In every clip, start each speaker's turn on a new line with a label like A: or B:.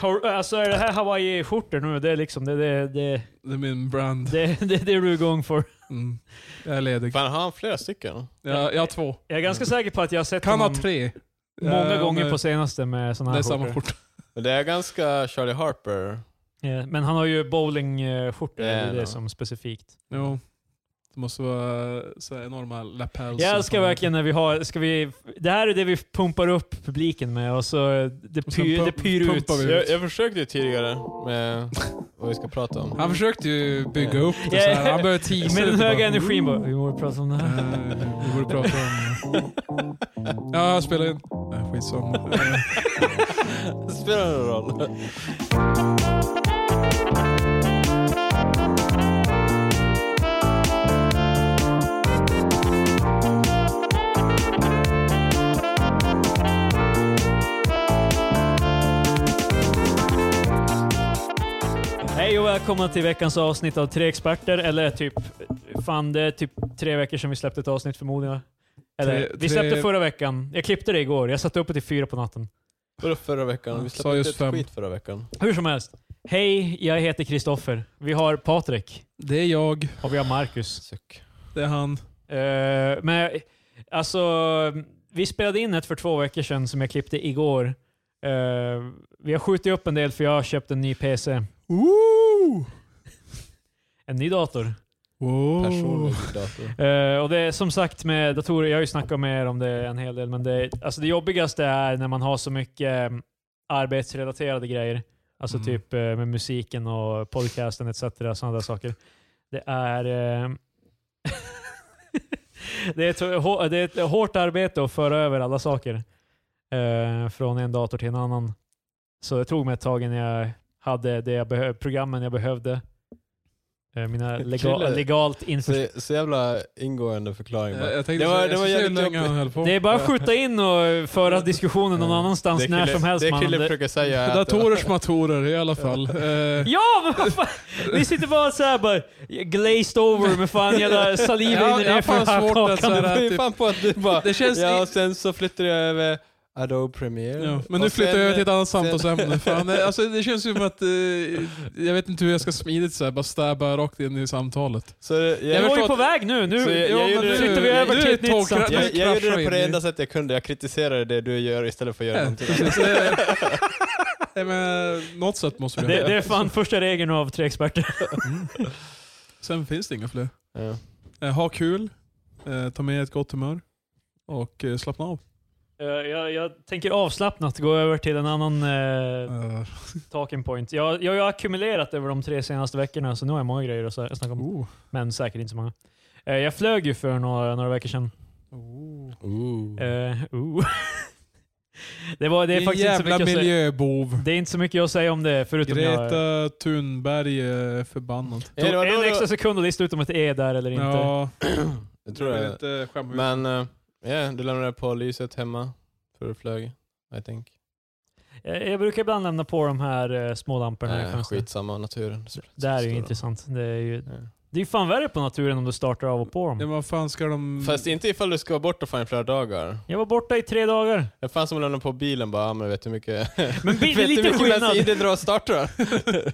A: Har- Alltså är det här Hawaii-skjortor nu? Det är liksom det, det, det,
B: Det är min brand.
A: det, det, det är du är igång för.
B: Mm. Jag är ledig.
C: Fan, har han flera stycken?
B: Jag, jag har två.
A: Jag är ganska säker på att jag har sett
B: Mm. Kan ha
A: honom
B: tre.
A: många
B: Eh,
A: gånger
B: men
A: på senaste med sådana
B: Det
A: här
B: är samma
A: skjortor.
B: skjorta.
C: Men det är ganska Charlie Harper.
A: Ja, Men han har ju bowlingskjortor, det är
C: Ja,
A: det
C: no.
A: som specifikt.
B: Jo. Det måste vara så här enorma lapels.
A: Jag älskar verkligen när vi har, ska vi, det här är det vi pumpar upp publiken med och så eh, det
B: Och sen
A: pyr,
B: pu-
A: det pyr ut.
B: pumpar vi
C: Jag, jag försökte ju tidigare med vad vi ska prata om.
B: Han försökte ju bygga upp det så här. Han började teasa
A: Med den
B: lite
A: höga
B: bara.
A: energin bara, vi borde prata om det här.
B: Eh, Vi borde prata om... Ja, jag spelar in. Nej, Skitsamma. Eh,
C: Spelar det någon roll?
A: Hej och välkomna till veckans avsnitt av Tre Experter, eller typ, fan det är typ tre veckor sedan vi släppte ett avsnitt förmodligen. va? Eller,
B: Tre-
A: vi släppte
B: tre-
A: förra veckan, jag klippte det igår, jag satt uppe till fyra på natten.
C: Vadå förra veckan? Vi
B: Sa
C: släppte
B: just
C: inte ett
B: fem.
C: skit förra veckan.
A: Hur som helst. Hej, jag heter Kristoffer. Vi har Patrik
B: Det är jag.
A: och vi har Marcus.
C: Suck.
B: Det är han.
A: Eh, men alltså, vi spelade in ett för två veckor sedan som jag klippte igår. Eh, vi har skjutit upp en del för jag har köpt en ny PC.
B: Ooh!
A: En ny dator.
B: Wow.
C: Personlig dator.
A: Eh, och det är som sagt med datorer, jag har ju snackat med er om det en hel del, men det, alltså det jobbigaste är när man har så mycket eh, arbetsrelaterade grejer. Alltså
B: Mm.
A: typ eh, med musiken och podcasten etc. Sådana där saker. Det är... eh, det, är ett, hå- det är ett hårt arbete att föra över alla saker eh, från en dator till en annan. Så det tog mig ett tag innan jag hade det jag behö- programmen jag behövde. Eh, Mina lega-
C: Krille,
A: legalt inför
C: Så, så jävla ingående förklaring
B: Eh,
C: bara.
B: Jag tänkte säga, jag ska se hur länge han höll på.
A: Det är bara att skjuta in och föra diskussionen någon
C: Ja.
A: annanstans
C: Det
A: när
C: Krille-
A: som helst
C: Det
A: mannen.
C: Krille
A: Det-
C: försöker säga är att-
B: Datorers matorer i alla fall. Eh,
A: Ja, men vad fan! Ni sitter bara såhär bara glazed over med fan jävla saliv
B: Ja,
A: rinner
B: jag
A: ner
B: har
A: för
B: fan svårt att
A: hakan.
B: så
C: Du
B: här-
C: var ju fan på att du bara...
B: typ- Det känns i-
C: ja, och sen så flyttade jag över Adobe Premiere.
B: Ja, men nu
C: Och
B: flyttar
C: sen-
B: jag över till ett annat samtalsämne. Fan, nej, alltså, det känns ju som att... Eh, jag vet inte hur jag ska smidigt så här, bara stabba rakt in i samtalet.
C: Så det-
A: Jag
C: jag,
A: var ju
C: förstår-
A: på väg nu. Nu
C: Så jag-
A: ja,
C: jag
A: men
C: gjorde-
A: flyttar vi över
B: nu
A: till
B: är
A: ett nytt
B: tågkra-
A: samtal.
B: nu-
C: jag, jag gjorde det
B: kraschar
C: på det
B: in i-
C: enda sättet jag kunde. Jag kritiserade det du gör istället för att göra
B: Ja,
C: någonting annat.
B: precis. Det- Nej, men, eh, något sätt måste vi
A: Det,
B: ha.
A: det är fan första regeln av tre experter.
B: Sen finns det inga fler.
C: Ja.
B: Eh, ha kul, eh, ta med ett gott humör och eh, slappna av.
A: Eh, Jag, jag tänker avslappnat gå över till en annan eh,
B: Eh,
A: talking point. Jag, jag har ackumulerat över de tre senaste veckorna, så nu har jag många grejer att sä- snacka om.
B: oh.
A: Men säkert inte så många. Eh, Jag flög ju för några, några veckor sedan.
B: Oh.
A: Eh, oh. det, var, det, är
B: Din
A: faktiskt inte så
B: jävla
A: mycket att säga.
B: miljöbov.
A: det är inte så mycket att säga om det, förutom jag
B: Greta Thunberg är förbannad.
C: Ja, det var
A: tog
C: då
A: en
C: det-
A: extra sekund och listade ut om ett E där eller inte.
B: Ja,
C: Jag tror
B: jag vill
C: det.
B: inte skämma ut.
C: Men eh, ja, du lämnade på lyset hemma för du flög. I think.
A: Eh, Jag, jag brukar ibland lämna på de här eh, små lamporna i
C: Eh,
A: fönstret.
C: skitsamma, naturen.
A: Det här är ju Mm. intressant. Det är ju
C: Ja.
A: det är ju fan värre på naturen om du startar av och på
B: Ja, men
A: dem.
B: vad fan ska de...
C: Fast inte ifall du ska vara borta fan i flera dagar.
A: Jag var borta i tre dagar.
C: Det är fan som att lämna på bilen bara, ah, men vet du hur mycket...
A: Men det är
C: vet du
A: lite
C: hur mycket
A: skillnad.
C: bensin det drar att starta?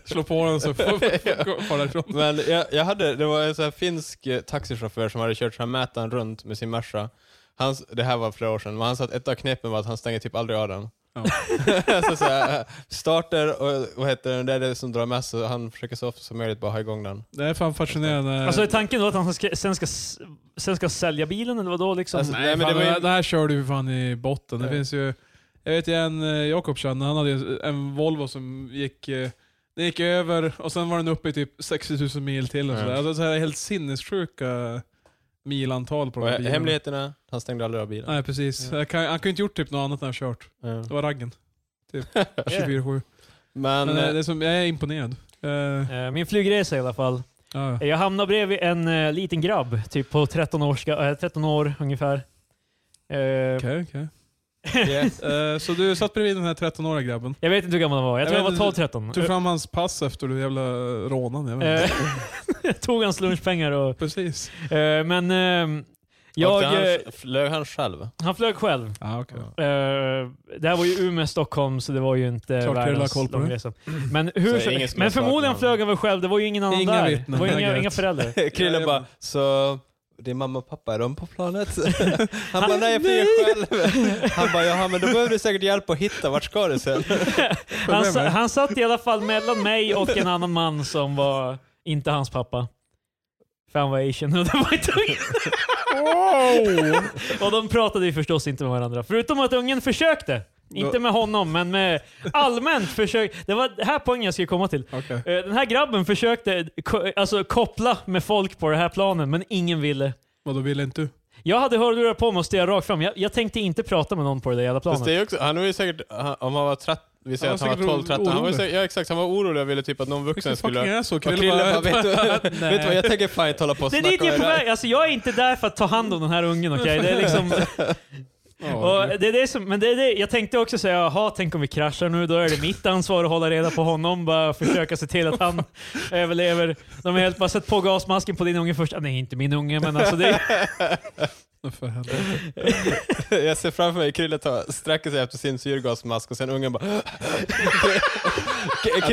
B: Slå på den så får far därifrån.
C: Men jag, jag hade, det var en sån här finsk eh, taxichaufför som hade kört så här mätaren runt med sin Merca. Hans, det här var flera år sedan, men han sa att ett av knepen var att han stänger typ aldrig av den. Alltså
B: Ja.
C: så, så här, starter och vad heter den, det är det som drar mest så han försöker så ofta som möjligt bara ha igång den.
B: Det är fan fascinerande.
A: Alltså är tanken då att han ska, sen, ska, s- sen ska sälja bilen eller vadå liksom?
C: Alltså,
B: nej, men det,
C: var ju-
B: här- det här kör du ju fan i botten. Det
C: Ja.
B: finns ju... Jag vet ju en eh, Jakob kände, han hade ju en Volvo som gick... eh, Den gick över och sen var den uppe i typ 60 000 mil till och
C: Ja.
B: sådär. Alltså så här helt sinnessjuka milantal på de
C: Och
B: här
C: he-
B: bilarna.
C: hemligheten är, han stängde aldrig av bilen.
B: Nej precis. Jag kan, han kunde inte gjort typ något annat när han kört.
C: Ja.
B: Det var raggen. Typ 24-7.
C: Men,
B: Men eh,
C: eh,
B: det är som, jag är imponerad. Eh,
A: Eh, Min flygresa i alla fall.
B: ja.
A: Jag hamnade bredvid en eh, liten grabb, typ på 13, årska, eh, 13 år ungefär. Eh,
B: Okej, okej.
C: yeah.
B: Eh, Så du satt bredvid den här 13-åriga grabben.
A: Jag vet inte hur gammal han var, jag tror
B: Jag
A: han
B: vet
A: var
B: inte,
A: 12-13.
B: Tog fram hans pass efter du jävla rånade. Jag vet inte.
A: Eh, tog hans lunchpengar och...
B: Precis.
A: eh, Men eh, Jag,
C: Åkte
A: eh,
C: han, flög han själv?
A: han flög själv.
B: Ah, okay.
A: Eh, det här var ju Umeå, Stockholm, så det var ju inte
B: Klart jag vill ha
A: världens
B: koll på det.
A: långresa. Men, hur,
C: Så ingen ska
A: men
C: ha svarat
A: förmodligen
C: någon.
A: flög han väl själv, det var ju ingen annan
B: Inga
A: där.
B: vittnen.
A: Det var ju
B: Jag
A: inga,
B: vet.
A: inga föräldrar.
C: Krille
B: Jajamän.
C: bara, så din mamma och pappa, är de på planet? Han bara,
A: Han-
C: nej jag flyger själv. Han bara, jaha men då behöver du säkert hjälp att hitta, vart ska du sen?
A: Han, sa, han satt i alla fall mellan mig och en annan man som var inte hans pappa. För han var asian och det var inte ungen. och de pratade ju förstås inte med varandra. Förutom att ungen försökte. Inte med honom, men med allmänt försök. Det var det här poängen jag skulle komma till.
B: Okej.
A: Eh, Den här grabben försökte ko- alltså, koppla med folk på det här planen, men ingen ville.
B: Vadå, ville inte du?
A: Jag hade hörlurar på mig och stirrade rakt fram. Jag, jag tänkte inte prata med någon på det där jävla
C: Fast
A: planet.
C: det är ju också, han var ju säkert, han- om han var 13, vi säger
B: Han
C: att
B: var
C: han var
B: säkert
C: 12-13, han var ju
B: orolig.
C: säkert, ja exakt, han var orolig och ville typ att någon vuxen
B: Vilken fucking
C: skulle...
B: är så?
C: Och
B: Krille
C: Krille bara, vet du,
A: Nej.
C: vet du vad, jag tänker fan inte hålla på och
A: Det är dit
C: snacka
A: jag är
C: om
A: på
C: det där.
A: väg. Alltså, jag är inte där för att ta hand om den här ungen, okej? Det är liksom...
B: Ja,
A: Och det är det som, men det är det, jag tänkte också säga, jaha, tänk om vi kraschar nu, då är det mitt ansvar att hålla reda på honom, bara försöka se till att han överlever. De har helt bara sett på gasmasken på din unge först. Ah, Nej, inte min unge, men alltså det,
B: det- för helvete.
C: Jag ser framför mig Krille ta, sträcker sig efter sin syrgasmask och sen ungen bara...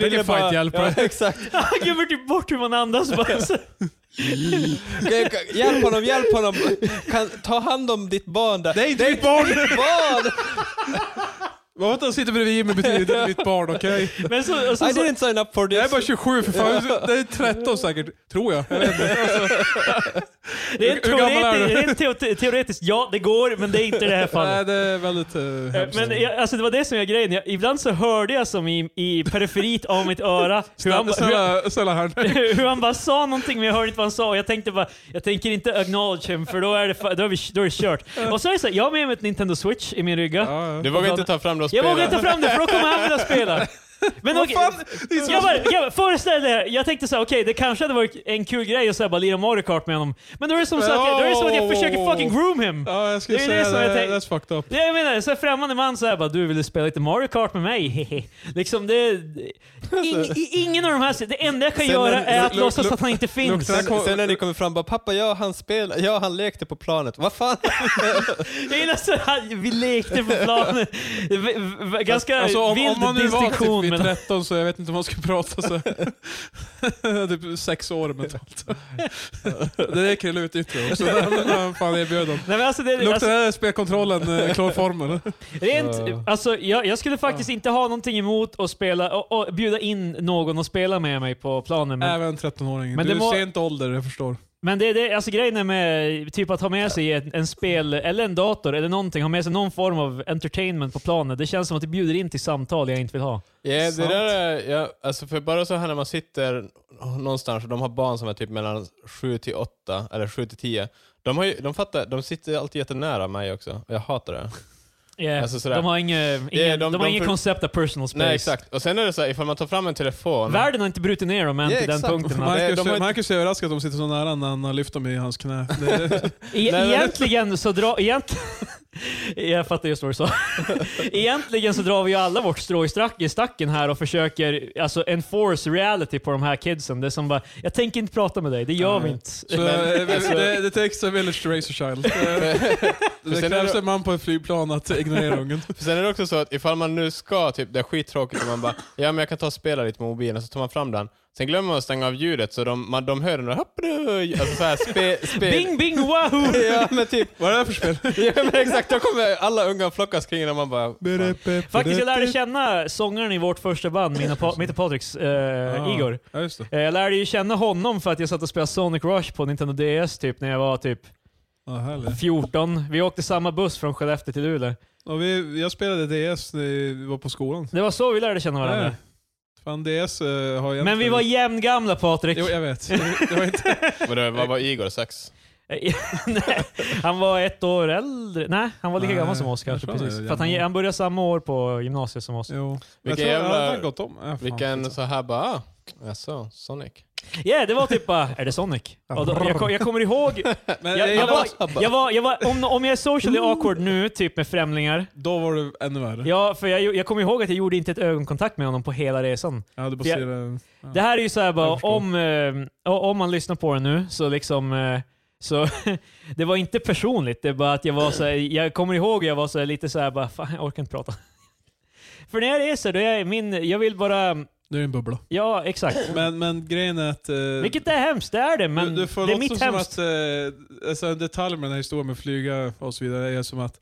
B: tänker fan inte hjälpa
C: ja,
B: dig.
C: exakt.
A: han glömmer typ bort hur man andas. Alltså, Bara, så,
C: K- k- Hjälp honom, hjälp honom! Kan, ta hand om ditt barn där.
B: Nej, det är ett barn!
C: Barn!
B: Vad att han sitter bredvid mig betyder inte att det är mitt barn, okej?
A: men så, och så,
C: I
A: så,
C: didn't sign up for this.
B: Jag är bara 27 för fan. Det är 13 säkert, tror jag. jag vet inte.
A: det är
B: hur gammal är
A: teoretiskt, rent teo- teoretiskt, ja det går, men det är inte i det här fallet.
B: Nej, det är väldigt eh,
A: Eh,
B: hemskt.
A: Men jag, alltså det var det som var grejen. Jag, ibland så hörde jag som i, i periferit av mitt öra hur han, hur,
B: Snälla, snälla här.
A: hur han bara sa någonting men jag hörde inte vad han sa. Och jag tänkte bara, jag tänker inte acknowledge him för då är det, fa- då är vi, då är det kört. Och så är det så här, jag har med mig ett Nintendo Switch i min rygga.
B: Ja,
C: Du
B: ja.
C: vågar inte ta fram det och
A: Jag
C: spela.
A: vågar inte ta fram det för då kommer han vilja spela. Men okej.
B: Det är så-
A: Jag bara, jag bara, föreställ dig, det här. jag tänkte så här, okej det kanske hade varit en kul grej att så här, bara lira Mario Kart med honom. Men då är det som, så att, jag, då är det som att jag försöker fucking groom him.
B: Ja, jag skulle
A: Det är
B: säga
A: det
B: det.
A: som jag tänk-
B: That's fucked up.
A: Det jag menar, så här främmande man såhär bara du ville spela lite Mario Kart med mig, hehe. Liksom det... Ing, i- ingen av de här... Det enda jag kan
C: Sen-
A: göra är att
C: luk-
A: låtsas
C: luk-
A: att han inte finns.
B: luktar-
C: Sen, sen när ni kommer fram bara pappa, ja han spelar, ja han lekte på planet. Vad fan?
A: Jag gillar så här, vi lekte på planen. V- v- Ganska
B: Alltså om,
A: vild
B: om man nu var
A: distinktion.
B: typ vid
A: men,
B: 13 så jag vet inte om man ska prata så. typ sex år mentalt. det är Krille utnyttjar också. Vad fan erbjöd han?
A: nej, men alltså, det,
B: Luktar
A: alltså,
B: det här spelkontrollen eh, klorformen?
A: rent, alltså, jag, jag skulle faktiskt inte ha någonting emot att spela, och, och bjuda in någon att spela med mig på planen.
C: Äh.
A: Men,
B: Även 13-åringen.
A: Men
B: du
A: det
B: är
A: må-
B: sent ålder, jag förstår.
A: Men det, det, alltså grejen är med typ att ha med sig en, en spel, eller en dator, eller någonting, ha med sig någon form av entertainment på planet. Det känns som att det bjuder in till samtal jag inte vill ha.
C: Ja, det
B: Sant.
C: där är, ja, alltså för bara så här när man sitter någonstans och de har barn som är typ mellan 7 till 8 eller 7 till 10. De, har ju, de, fattar, de sitter alltid jättenära mig också och jag hatar det.
A: Yeah.
C: Alltså sådär.
A: de har inget
C: Det är
A: ingen,
C: de-
A: de har
C: de
A: inget
C: för-
A: koncept av personal space.
C: Nej exakt. Och sen är det så här, ifall man tar fram en telefon.
A: Världen har inte brutit ner dem än
C: Ja,
A: till den
C: exakt.
A: punkten.
C: Man-
A: Att,
B: Marcus,
C: de har inte-
B: Marcus är överraskad att de sitter så nära när han har lyft dem i hans knä. Det,
A: e-
C: men-
A: egentligen så drar... Egent... jag fattar just vad du sa. egentligen så drar vi ju alla vårt strå i strack- i stacken här och försöker alltså, enforce reality på de här kidsen. Det är som bara, jag tänker inte prata med dig, det gör vi
C: Nej.
A: inte.
B: så,
C: Men,
B: eh,
C: alltså-
B: det, det takes a village to raise a child. Eh, Det
C: sen är
B: krävs
C: det-
B: en man på ett flygplan att ignorera ungen.
C: För sen är det också så att ifall man nu ska, typ det är skittråkigt och man bara ja men jag kan ta och spela lite på mobilen, så tar man fram den. Sen glömmer man att stänga av ljudet så de, man, de hör den och hoppadu, alltså så här spe, spel.
A: Bing, bing, wahoo!
C: Ja men typ,
B: Vad är det här för spel?
C: ja, men exakt, då kommer alla ungar flockas kring en och man bara fan.
A: Faktiskt, jag lärde känna sångaren i vårt första band, mina pa- mitt och Patriks, eh,
B: Ah,
A: Igor.
B: Ja, just det.
A: Eh, Jag lärde ju känna honom för att jag satt och spelade Sonic Rush på Nintendo DS typ när jag var typ
B: Ja, härligt.
A: 14. Vi åkte samma buss från Skellefteå till Luleå.
B: Och vi, jag spelade DS när vi var på skolan.
A: Det var så vi lärde känna varandra.
B: Nej. Fan, DS eh, har jag
A: Men vi var jämngamla Patrik.
B: Jo, jag vet. Det var inte...
C: Men då, vad var Igor? Sex?
A: Nej, han var ett år äldre. Nej, han var lika
B: Nej,
A: gammal som oss kanske.
B: jag tror
A: Precis.
B: det.
A: För att han, han började samma år på gymnasiet som oss.
B: Jo. Jag
C: Vilken
B: tror jag
C: jävla-
B: hade gått om. Ja, fan,
C: Vilken
B: skitsamma.
C: så här bara, ah, jaså, Sonic.
A: Ja, det var typ bara, är det Sonic? Och då, jag, kom- jag kommer ihåg,
B: Men,
A: jag,
B: eh,
A: jag var, jag var, jag var, om, om jag är socially awkward nu, typ med främlingar,
B: Då var du ännu värre.
A: Ja, för jag, jag kommer ihåg att jag gjorde inte ett ögonkontakt med honom på hela resan.
B: Ja, du bara
A: Jag-
B: ser det.
A: Det här är ju så här bara,
B: Jag förstår.
A: om, eh, o- om man lyssnar på det nu, så liksom eh, Så det var inte personligt, det är bara att jag var så här, jag kommer ihåg jag var så här, lite så här, bara fan jag orkar inte prata. För när jag reser, då är jag min, jag vill bara,
B: Det är en bubbla.
A: ja exakt.
B: Men, men grejen är att... eh,
A: Vilket är hemskt, det är det, men
B: du, du får
A: det är
B: låtsas
A: mitt
B: som
A: hemskt.
B: att, eh, alltså en detalj med den här historien med flyga och så vidare är som att,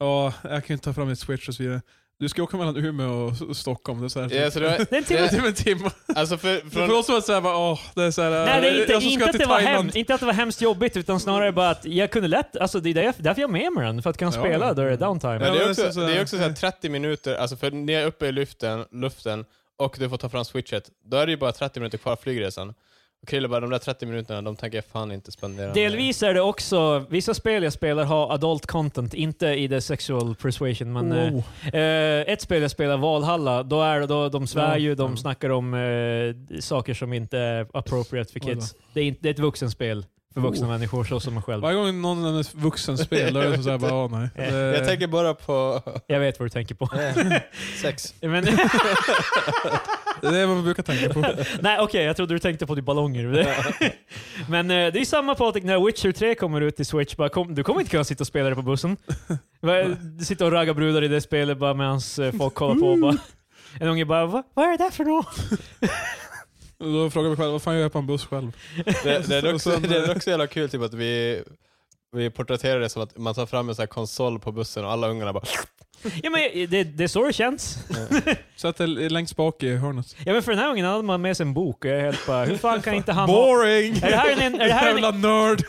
B: ja, jag kan ju inte ta fram mitt switch och så vidare. Du ska åka mellan Umeå och S- Stockholm. Det är så här,
C: Ja, så det var,
A: Det är en
C: Ja,
A: till.
B: typ en timme.
C: alltså för,
B: För
C: från,
B: oss var det såhär, åh, det är såhär,
A: Nej, det är
B: eh, jag
A: inte,
B: som
A: inte,
B: ska
A: att
B: till
A: det var hem,
B: Thailand.
A: inte att det var hemskt jobbigt, utan snarare bara att jag kunde lätt, alltså det är därför därför jag är med mig den, för att kunna
B: Ja,
A: spela
B: ja.
A: då det är downtime.
C: ja, det,
B: men
C: är också,
B: så- så-
C: det är också så här 30 minuter, alltså för ni är uppe i luften, luften och du får ta fram switchet, då är det ju bara 30 minuter kvar av flygresan. Och Krille bara, de där 30 minuterna, de tänker jag fan inte spendera.
A: Delvis är det också, vissa spel jag spelar har adult content, inte i det sexual persuasion, men eh,
B: Wow.
A: Eh, ett spel jag spelar, Valhalla, då är det då, de svär ju, de
B: Ja.
A: snackar om eh, saker som inte är appropriate för
B: Oj då. Oh.
A: kids. Det är, inte, det är ett vuxenspel för vuxna människor, så som jag själv.
B: Varje gång någon nämner vuxenspel, då är det såhär, bara, åh nej.
A: Jag
B: Det-
C: Jag tänker bara på
A: Jag vet vad du tänker på.
C: sex.
A: Men,
B: Det är vad man brukar tänka på.
A: nej, okej, jag trodde du tänkte på de ballonger. Men eh, det är samma Patrik, när Witcher 3 kommer ut i Switch, bara, kom, du kommer inte kunna sitta och spela det på bussen. Va- sitta och ragga brudar i det spelet bara medan eh, folk kollar på. och Bara.
B: Mm.
A: En unge bara, Va, vad är det där för något?
B: Då frågar jag mig själv, vad fan gör jag på en buss själv?
C: Det, det, är också,
B: Och sen-
C: det är också jävla kul typ att vi, vi porträtterar det som att man tar fram en sån här konsol på bussen och alla ungarna bara
A: Ja, men, eh, det, det är så det känns.
B: Sätt dig längst bak i hörnet.
A: Ja men för den här gången hade man med sig en bok och jag är helt bara, hur fan kan inte han ha...
B: Boring!
A: Är det här en- är det här en-
B: Jävla nörd!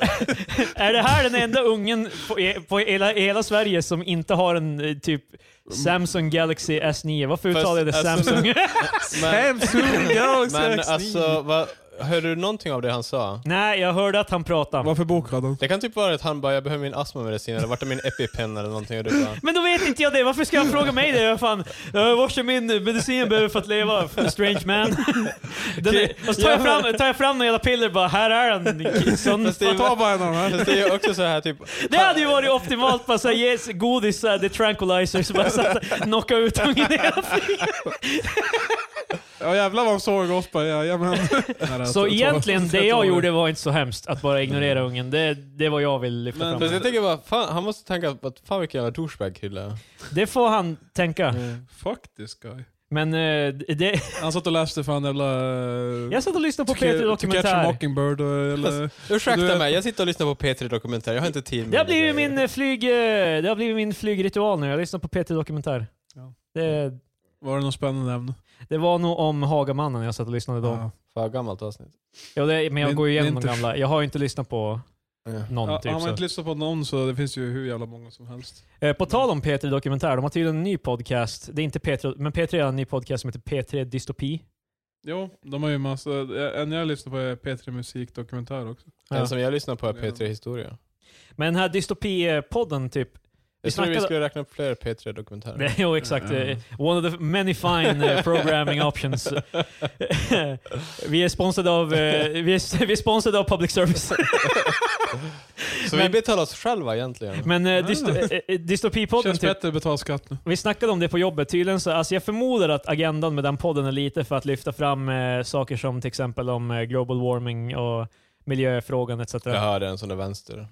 A: Är det här den enda ungen på, e-, på hela, i hela Sverige som inte har en eh, typ
B: Mm.
A: Samsung Galaxy S9? Varför
C: Fast,
A: uttalar jag det
C: alltså-
A: Samsung?
C: Men,
B: Samsung Galaxy
C: men
B: X9.
C: alltså, vad, hörde du någonting av det han sa?
A: Nej, jag hörde att han pratade.
B: Varför bok hade han?
C: Det kan typ vara att han bara, jag behöver min astmamedicin eller vart är min EpiPen eller någonting och du bara,
A: Men då vet inte jag det, varför ska han fråga mig det? Jag fan, "Ja, vars är min medicin jag behöver för att leva? Strange man. Den är, och så tar jag fram, tar jag fram några jävla piller bara, här är den. Sån,
C: Fast det är-
B: Ta bara en av de här.
C: Fast det är ju också så här typ,
A: det hade ju varit optimalt, bara såhär, yes, godis, eh, såhär, det är tranquilizers, bara såhär, knocka ut ungen i hela
B: Ja jävlar vad de såg oss bara. Ja, ja, men.
A: Så egentligen, det jag gjorde var inte så hemskt, att bara ignorera ungen. Det, det var jag vill lyfta
B: Men-
A: fram.
C: fast jag tänker bara, fan, han måste tänka på att fan vilken jävla douchebag kille.
A: Det får han tänka.
B: Fuck this guy.
A: Men eh, det,
B: Han satt och läste fan jävla... eh,
A: jag satt och lyssnade på
B: To Ca-
A: Peter
B: To catch a
A: Dokumentär.
B: mockingbird och, eller...
C: Ursäkta
B: Du-
C: mig, jag sitter och lyssnar på P3 Dokumentär, jag har inte tid med
A: Det har
C: grejer.
A: blivit min, eh, flyg, eh, det har blivit min flygritual nu. Jag lyssnar på Peter Dokumentär.
B: Ja.
A: Det,
B: Var det något spännande ämne?
A: det var nog om Hagamannen jag satt och lyssnade då.
B: Ja.
C: Fan, gammalt avsnitt.
A: Ja, det, men jag
B: Min-
A: går ju igenom
B: min
A: de
B: törs-
A: gamla. Jag har ju inte lyssnat på någon
B: Ja,
A: typ.
B: har man
A: Så.
B: inte lyssnat på någon så det finns ju hur jävla många som helst.
A: Eh, På tal om P3 Dokumentär, de har tydligen en ny podcast. Det är inte P3, men P3 har en ny podcast som heter P3 Dystopi.
B: Jo, de har ju massa... En jag lyssnar på är P3 Musik Dokumentär också.
A: Ja.
C: Den som jag lyssnar på är P3 Historia.
A: Men den här dystopi-podden typ, Vi
C: Jag tror vi
A: snackade-
C: skulle räkna upp fler P3 Dokumentärer.
A: Nej, jo, exakt.
B: Ja.
A: Eh, One of the many fine eh, programming options. vi är sponsrade av, eh, vi är, vi är sponsrade av public service.
C: Så
A: Men-
C: vi betalar oss själva egentligen.
A: Men eh, dysto, eh, eh, dystopipodden,
B: Känns
A: typ,
B: bättre att betala skatt nu.
A: vi snackade om det på jobbet. Tydligen så, alltså jag förmodar att agendan med den podden är lite för att lyfta fram eh, saker som till exempel om eh, global warming och miljöfrågan etc.
C: Jag hörde en sån där vänster.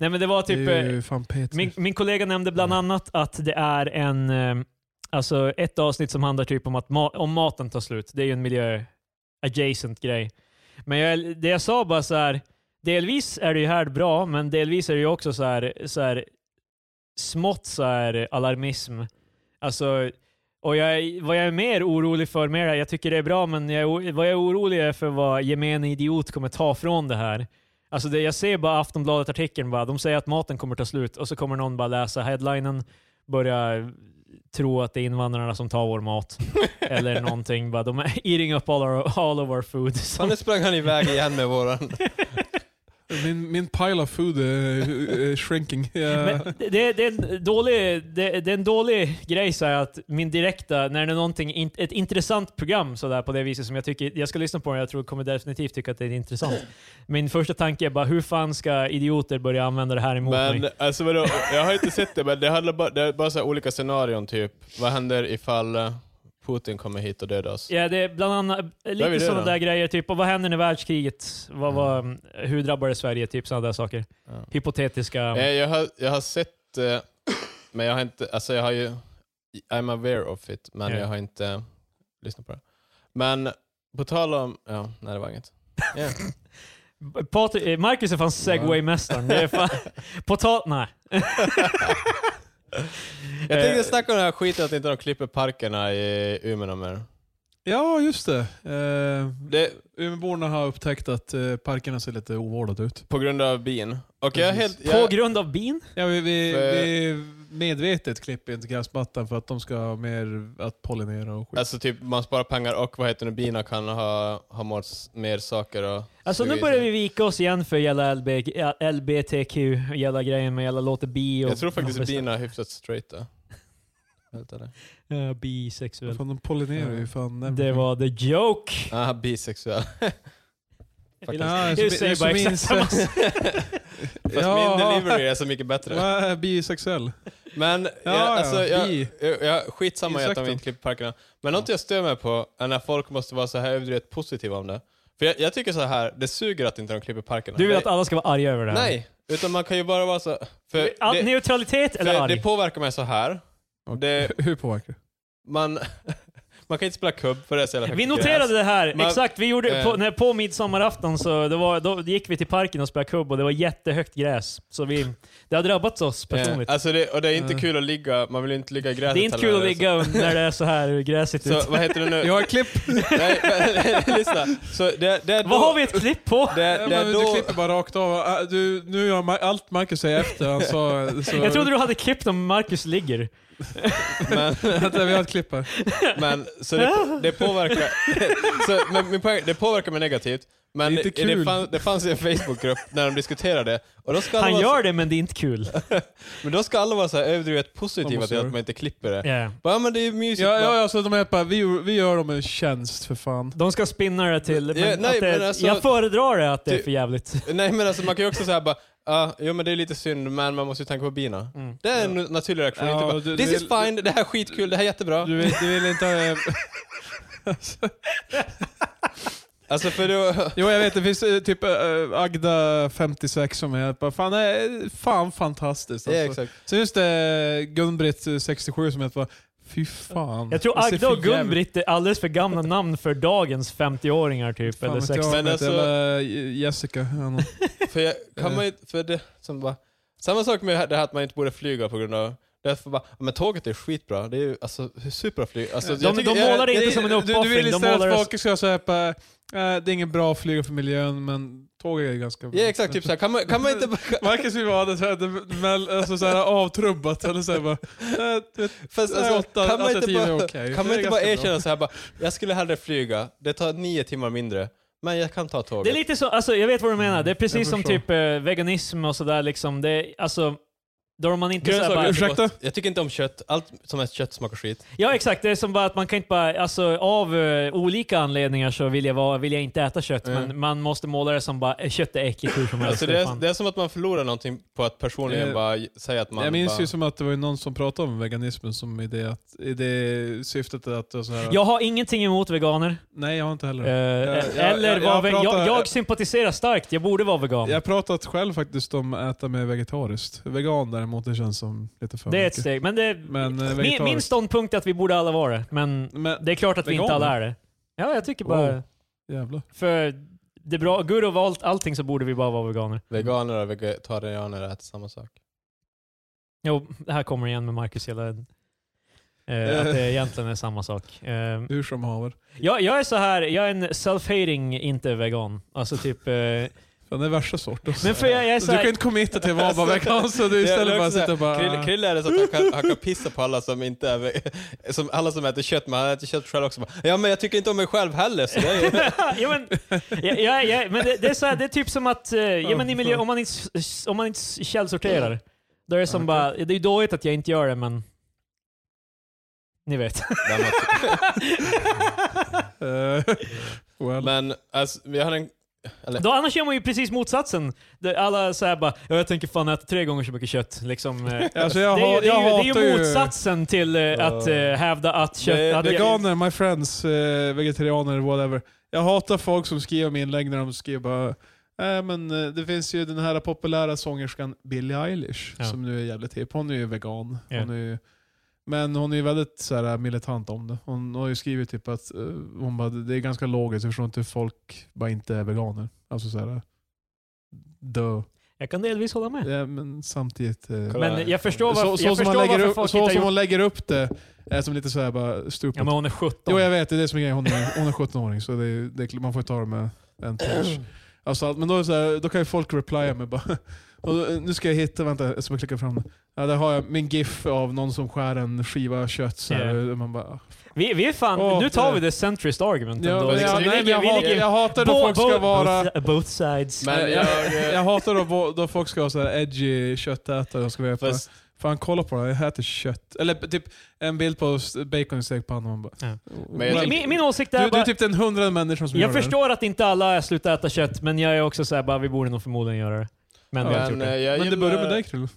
A: Nej men det var typ...
B: det
A: eh,
B: är ju fan P3.
A: Min, min kollega nämnde bland annat att det är en, eh, alltså ett avsnitt som handlar typ om att ma- om maten tar slut. Det är ju en miljö-adjacent grej. Men jag, det jag sa bara så här, delvis är det ju här bra, men delvis är det ju också så här, så här smått så här alarmism. Alltså, och jag, vad jag är mer orolig för, mer, jag tycker det är bra, men jag, är o- vad jag är orolig är för vad gemene idiot kommer ta från det här. Alltså det, jag ser bara Aftonbladet-artikeln, bara, de säger att maten kommer ta slut och så kommer någon bara läsa headlinen, börja tro att det är invandrarna som tar vår mat. Eller någonting. Bara, de är eating up all, our, all of our food. Så-
C: Sen sprang han iväg igen med våran.
B: Min, min pile of food är är shrinking. Jag,
A: Men det, det, är en dålig, det, det är en dålig grej så här att min direkta, när det är någonting, in, ett intressant program så där på det viset som jag tycker, jag ska lyssna på det jag tror kommer definitivt tycka att det är intressant. Min första tanke är bara hur fan ska idioter börja använda det här emot mig?
C: Men alltså vadå, jag har inte sett det, men det handlar bara, det är bara så här olika scenarion typ. Vad händer ifall eh, Putin kommer hit och dödar oss.
A: Ja, det är bland annat eh,
C: är vi
A: lite
C: det
A: sådana
C: då.
A: där grejer, typ och vad händer när världskriget? Vad,
C: Mm.
A: var, hur drabbar det Sverige? Typ sådana där saker.
C: Ja.
A: Hypotetiska.
C: Eh, Jag, har, jag har sett, eh, men jag har inte, alltså jag har ju, I'm aware of it, men
A: Ja.
C: jag har inte lyssnat på det. Men på tal om, ja, nej det var inget. Ja.
A: Patrik, eh, Marcus är fan segway-mästaren. Det är fan... På tal... Nej.
C: Jag
A: Eh,
C: tänkte snacka om den här skiten att inte de klipper parkerna i Umeå någon mer.
B: Ja, just det. Eh,
C: Det,
B: Umeåborna har upptäckt att eh, parkerna ser lite ovårdade ut.
C: på grund av bin. Och jag är helt,
A: På
C: jag,
A: grund av bin?
B: Ja, vi, vi,
C: För-
B: vi medvetet klipper inte gräsmattan för att de ska ha mer att pollinera och skit.
C: alltså typ man sparar pengar och vad heter det, bina kan ha, ha mått s- mer saker och
A: Alltså nu börjar vi vika oss igen för hela LB, LBTQ, hela grejen med hela låter bi och...
C: Jag tror faktiskt bina är hyfsat straighta. Helt ärligt.
A: Ja, bisexuell.
B: Fan, de pollinerar ju fan nerver.
A: Det var the joke!
C: Ah, bisexuell.
A: Vill-
B: Ja,
A: Jag säger bara exakt samma sak.
C: Fast min delivery är så mycket bättre.
B: är bisexuell.
C: Men
B: Ja,
C: jag, alltså,
B: ja,
C: jag,
B: vi-
C: jag, jag, skitsamma i att de
B: Ursäkta.
C: inte klipper parkerna. Men något jag stör mig på är när folk måste vara så här överdrivet positiva om det. För jag, jag tycker så här, det suger att inte de klipper parkerna.
A: Du vill
C: det,
A: att alla ska vara arga över det här?
C: Nej, utan man kan ju bara vara så... För
A: All,
C: det,
A: neutralitet eller
C: för
A: arg?
C: det påverkar mig så här. Det,
B: Hur påverkar det?
C: man, man kan inte spela kubb för det är så jävla högt
A: Vi
C: gräs.
A: noterade det här,
C: Man-
A: exakt. Vi gjorde,
C: eh.
A: på, när, på midsommarafton så det var, då gick vi till parken och spelade kubb och det var jättehögt gräs. Så vi, det har drabbat oss personligt.
C: Eh, alltså det, och det är inte
B: Eh.
C: kul att ligga, man vill ju inte ligga i gräset
A: det är inte
C: heller.
A: kul att ligga när det är så här gräsigt
C: Så,
A: ut.
C: så vad heter det nu?
B: Jag har klipp!
C: Nej, men, lyssna. Så det, det är då,
A: Vad har vi ett klipp på?
C: Det,
B: Ja,
C: Eh, det
B: men
C: är
B: Du
C: då,
B: klipper bara rakt av. Ah, Du, nu har Ma- allt Marcus säger efter han sa... Så,
A: Jag trodde du hade klippt om Marcus ligger.
C: men,
B: Vänta, vi har ett klipp här.
C: men, så det, det påverkar... Så, men, min poäng, det påverkar mig negativt. Men
B: Det är
C: det,
B: inte
C: det,
B: kul.
C: fann, det fanns ju en Facebookgrupp när de diskuterade det. Och då ska alla
A: Han
C: vara, Eh.
A: gör det men det är inte kul.
C: Men då ska alla vara så här överdrivet
B: Vad
C: positiva
B: måste
C: till
B: du?
C: att man inte klipper det.
A: Ja.
C: Bara, Ja men det är ju mysigt.
B: Ja,
C: bara.
B: ja, alltså, de är bara, vi, vi gör dem en tjänst för fan.
A: De ska spinna det till... Men
C: Ja, nej,
A: att det,
C: men alltså-
A: jag föredrar det att det är
C: Ty-
A: för jävligt.
C: Nej men alltså man kan ju också säga bara, ja jo men det är lite synd men man måste ju tänka på bina.
A: Mm.
C: Det är en naturlig reaktion.
B: Ja,
C: inte bara,
B: du-
C: This
B: du-
C: is fine, det här är skitkul, det här är jättebra.
B: Du vill, du vill inte ha... eh,
C: Alltså för då...
B: Jo, jag vet. Det finns eh, typ eh, Agda 56 som är bara, fan, eh, fan fantastiskt.
C: Ja,
B: Alltså.
C: exakt.
B: Så just det, Gun-Britt eh, 67 som heter bara, fy fan.
A: Jag tror
B: Det ser
A: Agda och
B: för jävligt-
A: Gun-Britt är alldeles för gamla namn för dagens 50-åringar typ.
B: Fan
A: Eller
B: vet jag
A: 60
B: om
C: Men
B: det,
C: alltså-
B: eller Jessica. eller något.
C: För, jag, kan man ju, för det som bara, samma sak med det här att man inte borde flyga på grund av Därför bara, "Ja, men tåget är skitbra. Det är ju alltså, hur superbra flyg. Alltså,
A: De- de målar det inte som en
B: du, du
A: uppoffring,
B: vill
A: de
B: istället
A: målar det-
B: att folk ska säga på, eh, det är inget bra att flyga för miljön, men tåg är ganska bra.
C: Ja exakt, typ såhär. Kan man, kan man inte bara...
B: Marcus vill ha det såhär, det- mell- alltså såhär avtrubbat, eller såhär bara... eh, du vet,
C: Fast,
B: Nej,
C: alltså,
B: åtta-
C: kan man
B: åtta
C: inte
B: timmar är
C: bara,
B: okej.
C: kan
B: Det
C: man
B: är
C: inte bara
B: ganska bra.
C: erkänna såhär bara, jag skulle hellre flyga, det tar nio timmar mindre, men jag kan ta tåget.
A: Det är lite så, alltså, jag vet vad du menar. Det är
B: jag
A: precis som
B: förstår.
A: typ eh, veganism och sådär. Liksom. Det är, alltså, då man inte så här
C: Grönsaker är
A: bara,
C: så
B: Ursäkta?
C: gott. Jag tycker inte om kött, allt som är kött smakar skit.
A: Ja exakt, det är som bara att man kan inte bara, alltså av eh, olika anledningar så vill jag, vara, vill jag inte äta kött,
B: Eh.
C: Mm.
A: men man måste måla det som bara, eh, kött är äckligt hur som helst.
C: Alltså,
A: det
C: det,
A: är
C: är,
A: fan-
C: det är som att man förlorar någonting på att personligen
B: Eh,
C: bara säga att man
B: jag minns
C: bara,
B: ju som att det var ju någon som pratade om veganismen som i det, att, i det syftet att... det var Så här,
A: Jag har ingenting emot veganer.
B: Nej, jag har inte heller.
A: eh,
B: jag-
A: eller
B: jag-
A: jag,
B: jag
A: jag,
B: pratar-
A: jag, jag sympatiserar starkt, jag borde vara vegan.
B: Jag har pratat själv faktiskt om att äta med vegetariskt. Vegan däremot, det känns som lite för
A: det är ett
B: mycket.
A: steg. Men det,
B: Men eh,
A: min,
B: vegetariskt.
A: min ståndpunkt är att vi borde alla vara det, men
B: Men,
A: det är klart att vi inte
B: Veganer?
A: alla är det. Ja, jag tycker bara...
B: Wow. jävlar.
A: För det är bra, gud och valt allting så borde vi bara vara veganer.
C: veganer och vegetarianer äter samma sak.
A: Jo, det här kommer igen med Marcus hela... Eh, att det egentligen är samma sak. Eh,
B: Hur som haver.
A: jag, jag är så här, jag är en self-hating inte vegan. Alltså typ... Eh,
B: Fan, det är värsta sorten.
A: men för jag, jag är
B: Du
A: så
B: kan
A: här,
B: inte committa till vad typ vara
C: Alltså,
B: vegan, så du
C: det är
B: istället bara
C: också
B: sitter och
A: Ah.
B: bara...
C: Krill, krill är det så att han kan, han kan pissa på alla som inte är ve- som, alla som äter kött, men han äter kött själv också. Bara, ja men jag tycker inte om mig själv heller. Så det är ju...
A: ja, men, jag, jag, jag, men det, det, är så här, det är typ som att eh, ja, men i miljö, om, man inte, s- om man inte s- källsorterar, då är det som
B: Okej.
A: bara, det är dåligt att jag inte gör det men... Ni vet.
B: eh, well. eh,
C: men alltså, vi hade en, Eller,
A: Då, annars gör man ju precis motsatsen. Där Alla säger bara "Ja, jag tänker fan äta tre gånger så mycket kött. Liksom, eh,
B: Alltså jag,
A: det, är ju,
B: ha,
A: det,
B: jag
A: är
B: hatar
A: ju,
B: ju...
A: det är ju motsatsen till eh, att eh, hävda att kött...
C: Det-
A: att,
B: Eh, Veganer, my friends, eh, vegetarianer, whatever. Jag hatar folk som skriver med inlägg när de skriver bara Nej men eh, det finns ju den här populära sångerskan Billie Eilish
A: Ja.
B: som nu är jävligt hipp. Hon är ju vegan.
A: Ja.
B: Hon är ju, men hon är ju väldigt så här, eh, militant om det. Hon har ju skrivit typ att eh, hon bara, det är ganska logiskt, jag förstår inte hur folk bara inte är veganer. Alltså såhär, dö.
A: jag kan delvis hålla med.
B: Ja, men samtidigt... eh,
C: Kolla här.
A: Men jag förstår varför,
B: så, så,
A: jag
B: som, man
A: förstår
B: lägger
A: varför
B: upp,
A: folk
B: så
A: inte
B: som
A: har gjort...
B: hon lägger upp det är som lite såhär bara stupid.
A: Ja, men hon är 17.
B: Jo jag vet, det är det som är grejen. Hon är, hon är 17-åring så det är, det är, man får ta det med en touch. Alltså, allt- men då, är det så här, då kan ju folk replya med bara... Och då, nu ska jag hitta, vänta jag ska bara klicka fram den. Ja, där har jag min GIF av någon som skär en skiva kött. Så här,
A: Ja.
B: och man bara,
A: Vi, vi är fan,
B: Åh,
A: nu tar
B: det-
A: vi det centrist argument
B: ja,
A: ändå.
B: men,
A: liksom.
B: ja,
A: Vi
B: nej, men
A: ligger-
B: jag,
A: vi
B: hat,
A: ligger-
B: jag hatar då
A: bo-
B: folk ska
A: bo-
B: vara...
A: Both, both sides. Eh,
C: Men
B: jag, jag, jag hatar då, då folk ska vara så här edgy köttätare. och Ska vara bara,
C: fast,
B: Fan kolla på det här, jag äter kött. Eller typ en bild på s- bacon i stekpanna. och man bara-
A: Ja.
C: Men jag-
A: min, min åsikt är
B: Du, du
A: bara...
B: är typ den hundrade människan som
A: jag
B: gör det.
A: förstår att inte alla slutar äta kött, men jag är också såhär bara, vi borde nog förmodligen göra det. Men vi har inte
C: men,
A: gjort
C: eh,
A: det.
C: jag
B: Men det
C: gillar-
B: börjar med dig Krille.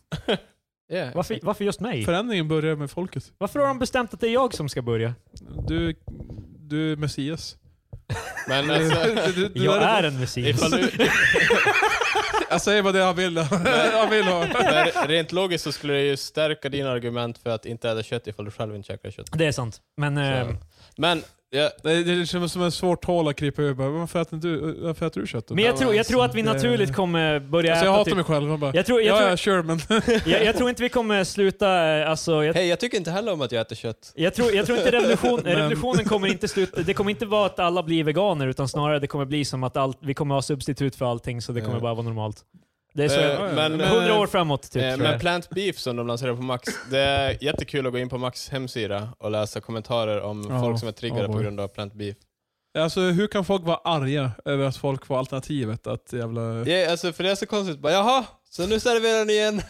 C: Yeah.
A: Varför, varför just mig?
B: Förändringen börjar med folket.
A: Varför har de bestämt att det är jag som ska börja?
B: Du, du är Messias.
C: Men
B: Du-
C: alltså,
B: du- du- du-
A: Jag är
B: där-
A: en messias.
C: ifall du,
B: Jag säger bara det han vill, han vill ha.
C: men rent logiskt så skulle det ju stärka dina argument för att inte äta kött ifall du själv inte käkar kött.
A: Det är sant. Men
C: Så.
A: eh,
C: Men, jag,
B: Det det känns som ett svårt hål att krypa ur. Bara, Varför äter du, varför äter du kött? då?
A: Men jag tror, jag tror att vi
B: Det-
A: naturligt kommer börja
B: alltså, jag
A: äta
B: hatar
A: typ-
B: mig själv. Man bara,
A: jag, tror, jag,
B: ja,
A: tror,
B: ja, sure men...
A: jag, jag tror inte vi kommer sluta, eh, alltså, jag,
C: hej, jag tycker inte heller om att jag äter kött.
A: jag, tror, jag tror inte revolution,
B: Men-
A: revolutionen kommer inte sluta, det kommer inte vara att alla blir veganer utan snarare det kommer bli som att allt, vi kommer ha substitut för allting så det kommer
C: Ja.
A: bara vara normalt. Det är
C: Eh,
A: så,
C: men-
B: men-
A: 100 år framåt typ.
C: Eh,
A: tror
C: men
A: jag.
C: Plant Beef som de lanserar på Max, det är jättekul att gå in på Max hemsida och läsa kommentarer om
B: Ja,
C: folk som är triggade
B: ja,
C: på
B: boy.
C: grund av Plant Beef.
B: Alltså hur kan folk vara arga över att folk får alternativet att jävla...
C: Ja, alltså, för det är så konstigt. Bara, Jaha, så nu serverar ni en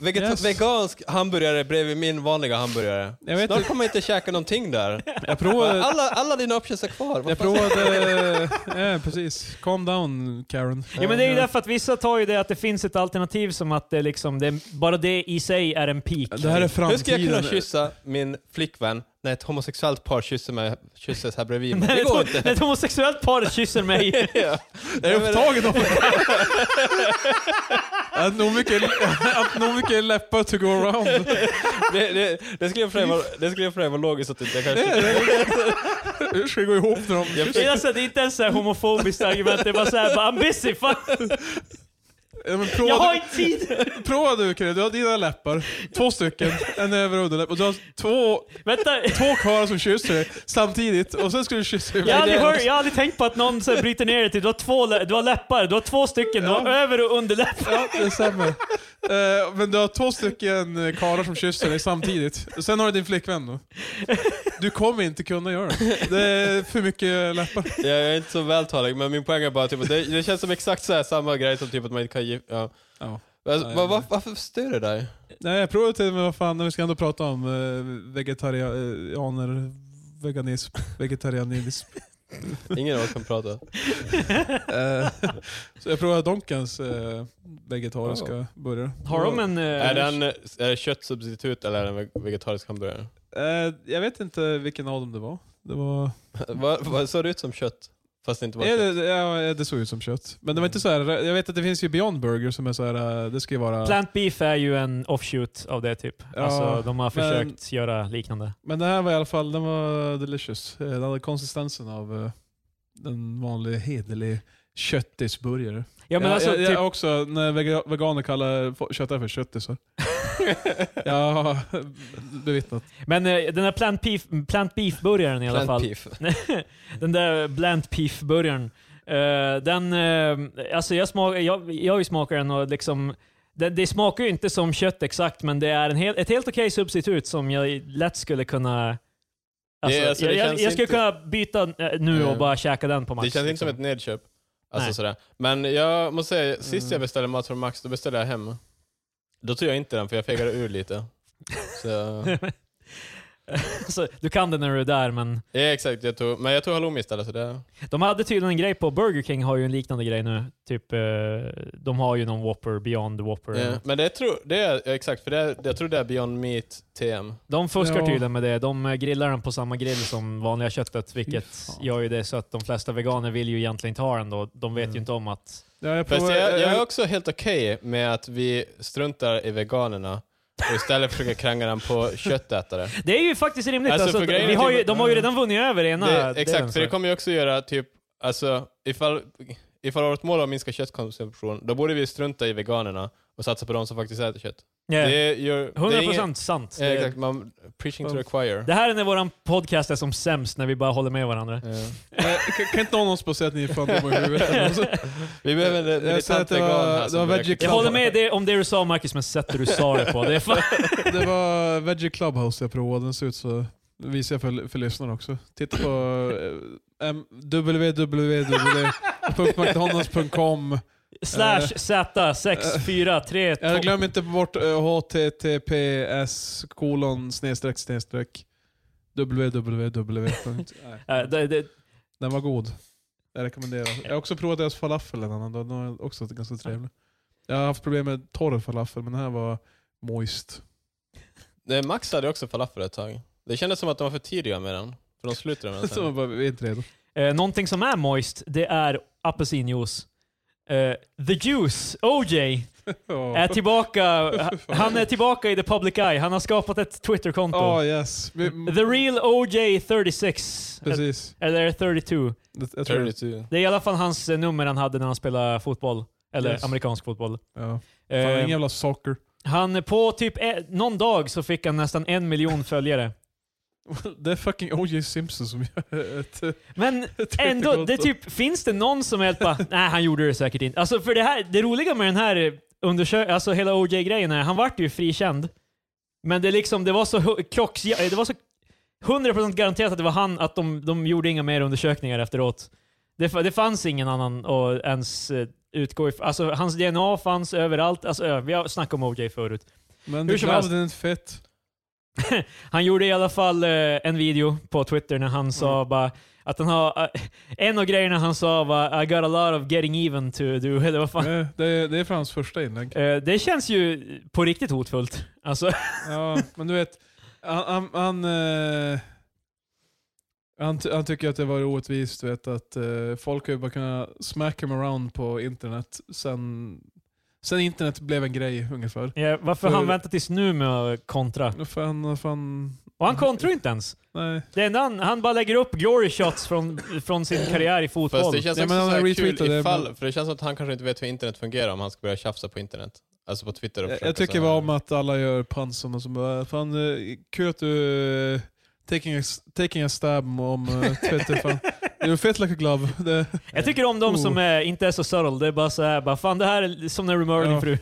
C: vegeta-
B: Yes.
C: vegansk hamburgare bredvid min vanliga hamburgare.
B: Jag vet
C: Snart
B: inte.
C: kommer jag inte käka någonting där.
B: Jag provade...
C: Alla, alla dina options är kvar. Vad
B: Jag
C: fan-
B: provade... Ja, precis. Calm down Karen. Eh,
A: Ja, men det är ju därför att vissa tar ju det att det finns ett alternativ som att det liksom, det, bara det i sig är en peak.
B: Det här är
C: Hur ska
B: framtiden.
C: jag kunna kyssa min flickvän när ett homosexuellt par kysser mig, kysses här bredvid mig?
A: När
C: Det går
A: ett, när
C: inte.
A: ett homosexuellt par kysser mig.
C: Ja.
B: Jag är
C: Nej, men-
B: upptagen av Att nog mycket, att nog mycket läppar to go around.
C: Det, det, det skulle jag för sig vara- det skulle jag för sig vara logiskt att inte jag kanske...
B: Hur ska det gå ihop när de...
C: Jag
A: Det är,
C: försöker-
A: alltså, det är inte ens ett homofobiskt argument, det är bara såhär bara, I'm busy, fan,
B: Ja, men
A: jag har
B: prova,
A: inte tid!
B: prova du Chrille, du har dina läppar. Två stycken. En över och underläpp. Och du har två,
A: Vänta,
B: två kvar som kysser dig samtidigt. Och sen ska du kyssa
A: jag har aldrig,
B: mig.
A: hört, jag har aldrig tänkt på att någon så här bryter ner det till du har två lä- du har läppar, du har två stycken, du har
B: Ja.
A: över och underläpp.
B: Ja, det stämmer. Eh, men du har två stycken eh, karlar som kysser dig samtidigt. Sen har du din flickvän då. Du kommer inte kunna göra det. Det är för mycket läppar.
C: Jag är inte så vältalig, men min poäng är bara typ att det, det känns som exakt så här, samma grej som typ att man inte kan gifta ja.
B: Ja.
C: Alltså,
B: Nej,
C: var, var,
B: men-
C: Varför stör det dig?
B: Nej, jag provade till men vad fan, vi ska ändå prata om eh, vegetarianer, veganism, vegetarianism.
C: Ingen av oss kan prata.
B: Eh, så jag provade Donkans eh, vegetariska
C: Oh.
B: burgare.
A: Har de en... eh,
C: Är den eh, är det köttsubstitut eller är det en veg- vegetarisk hamburgare?
B: Eh, jag vet inte vilken av dem det var. Det, var...
C: Vad vad såg det ut som kött? Fast det inte var
B: Ja,
C: kött.
B: det, ja, eh, det såg ut som kött. Men det var inte så här. eh, jag vet att det finns ju Beyond Burger som är så här. eh, det ska ju vara...
A: Plant beef är ju en offshoot av det typ.
B: Ja,
A: alltså, de har
B: men-
A: försökt göra liknande.
B: Men det här var i alla fall, den var delicious. Eh, Den hade konsistensen av eh, en vanlig hederlig köttisburgare.
A: Ja men
B: jag,
A: alltså,
B: jag, jag
A: typ,
B: är också, när vega- veganer kallar fo- köttare för köttisar. jag har bevittnat.
A: men eh, den där plant beef, plant beef burgaren i alla fall.
C: Plant beef.
A: den där bland beef burgaren Eh, den, eh, alltså jag, smak, jag, jag har ju smakat den och liksom, det, det smakar ju inte som kött exakt, men det är en hel, ett helt okej substitut som jag lätt skulle kunna... Alltså,
C: alltså, det
A: jag, jag,
C: känns
A: jag skulle
C: inte-
A: kunna byta eh, nu och
C: Mm.
A: bara käka den på max.
C: Det känns inte som ett
A: liksom.
C: nedköp. Alltså
A: Nej.
C: sådär. Men jag måste säga, sist
B: Mm.
C: jag beställde mat från Max, då beställde jag hem. Då tog jag inte den för jag fegade ur lite. Så,
A: liksom. så, du kan det när du är där, men
C: Ja, exakt. Jag tog, men jag tog halloumi istället. Så det,
A: de hade tydligen en grej på Burger King, har ju en liknande grej nu. Typ, eh, de har ju någon Whopper, Beyond Whopper.
C: ja. Men det, tror- det är, ja, exakt, för det, är- jag tror det är Beyond Meat TM.
A: De fuskar
B: Ja.
A: tydligen med det. De eh, grillar den på samma grill som vanliga köttet, vilket
B: fan.
A: gör ju det så att de flesta veganer vill ju egentligen inte ha den då. De vet ju
C: Mm.
A: inte om att...
B: Ja, jag
C: Fast
B: provar-
C: jag, jag
B: jag-
C: är också helt okej med att vi struntar i veganerna och istället försöker kränga den på köttätare.
A: Det är ju faktiskt rimligt.
C: Alltså,
A: Alltså,
C: för grejen
A: vi
C: är
A: har
C: typ-
A: ju, de har ju redan vunnit över ena
C: det,
A: delen,
C: exakt, för
A: så.
C: det kommer ju också göra typ, alltså ifall, ifall vårt mål är att minska köttkonsumtion, då borde vi strunta i veganerna och satsa på de som faktiskt äter kött.
A: Ja.
C: Det gör... det är
A: 100%
C: ingen-
A: sant.
C: Ja,
A: Det,
C: exakt, man, preaching to the choir.
A: det här är när vår podcast är som sämst, när vi bara håller med varandra.
C: Ja.
B: Nej, kan- Kan inte någon av oss bara säga att ni är fan dumma i huvudet? Alltså,
C: Vi behöver en
B: Jag säger att
C: militant
B: det var-
C: vegan här
B: det
C: som
B: var
C: börjar-
B: veggie
A: Jag
B: Klart.
A: håller med dig om det du sa Marcus, men sättet du sa det på. Det är fan...
B: Det var Veggie Clubhouse jag provade, den ser ut så. Det visar jag för, för lyssnarna också. Titta på eh, em, www.mcdonalds.com
A: Slash Z643.
B: Ja, Glöm inte bort eh, https kolon snedstreck snedstreck www. Nej,
A: Eh, det- det-
B: Den var god. Jag rekommenderar. Jag har också provat deras falafel en annan dag. Den var också ganska trevlig. Jag har haft problem med torr falafel, men den här var moist.
C: Nej, Eh, Max hade också falafel ett tag. Det kändes som att de var för tidiga med den. För de slutade med den
B: Så man
C: sen.
B: bara, vi är inte redo.
A: Eh, någonting som är moist, det är apelsinjuice. Eh, the Juice, OJ,
B: Ja.
A: är tillbaka. Han är tillbaka i the public eye. Han har skapat ett Twitterkonto.
B: Ja, yes. Vi, mm,
A: The real OJ36. eh,
B: precis.
A: Eller 32.
B: Det- Jag tror det.
C: 32.
A: Det är i alla fall hans eh, nummer han hade när han spelade fotboll. Eller
B: Yes.
A: amerikansk fotboll.
B: Ja.
A: Eh,
B: Fan, ingen jävla soccer.
A: han på typ eh, någon dag så fick han nästan en miljon följare.
B: Det är fucking O.J. Simpson som gör ett...
A: Men
B: ett
A: ändå, det
B: Twitterkonto.
A: är typ, finns det någon som helt bara, nej han gjorde det säkert inte. Alltså för det, här, det roliga med den här undersökningen, alltså hela OJ-grejen är, han vart ju frikänd. Men det, är liksom, det var så hu- klocks, det var så 100% garanterat att det var han, att de, de gjorde inga mer undersökningar efteråt. Det, fa- det fanns ingen annan att ens eh, utgå ifrån. Alltså hans DNA fanns överallt. Alltså, ö, vi har snackat om OJ förut.
B: Men
A: Hur
B: det
A: som
B: glad
A: helst.
B: den är inte fett.
A: Han gjorde i alla fall eh, en video på Twitter när han sa
C: Mm.
A: bara att han har... eh, en av grejerna han sa var I got a lot of getting even to do, eller vad fan.
B: Eh, Det är, det är för hans första inlägg.
A: Eh, det känns ju på riktigt hotfullt. Alltså,
B: Ja, men du vet. Han, han, han, eh, han, ty- han tycker att det var orättvist du vet, att eh, folk har ju bara kunnat smack him around på internet sen, sen internet blev en grej ungefär.
A: eh, varför
B: För-
A: han väntar tills nu med att kontra?
B: Och Fan, fan,
A: Och han kontrar ju inte ens.
B: nej.
A: Det enda han, han bara lägger upp glory shots från, från sin karriär i
C: Fast
A: fotboll.
C: det känns
B: Ja,
C: också
B: men han
C: så här
B: retweetade
C: kul
B: det,
C: ifall,
B: men-
C: för det känns som att han kanske inte vet hur internet fungerar om han ska börja tjafsa på internet. Alltså på Twitter och
B: Jag,
C: försöka
B: jag tycker
C: så
B: bara
C: här-
B: om att alla gör pansen och så bara, fan eh, kul att du eh, taking a, taking a stab om eh, Twitter. fan. You're fit like a glove. Det,
A: Jag tycker om de
B: Oh.
A: som är, inte är så subtle. Det är bara så här, bara fan det här är som när du mördar din
B: Ja.
A: fru.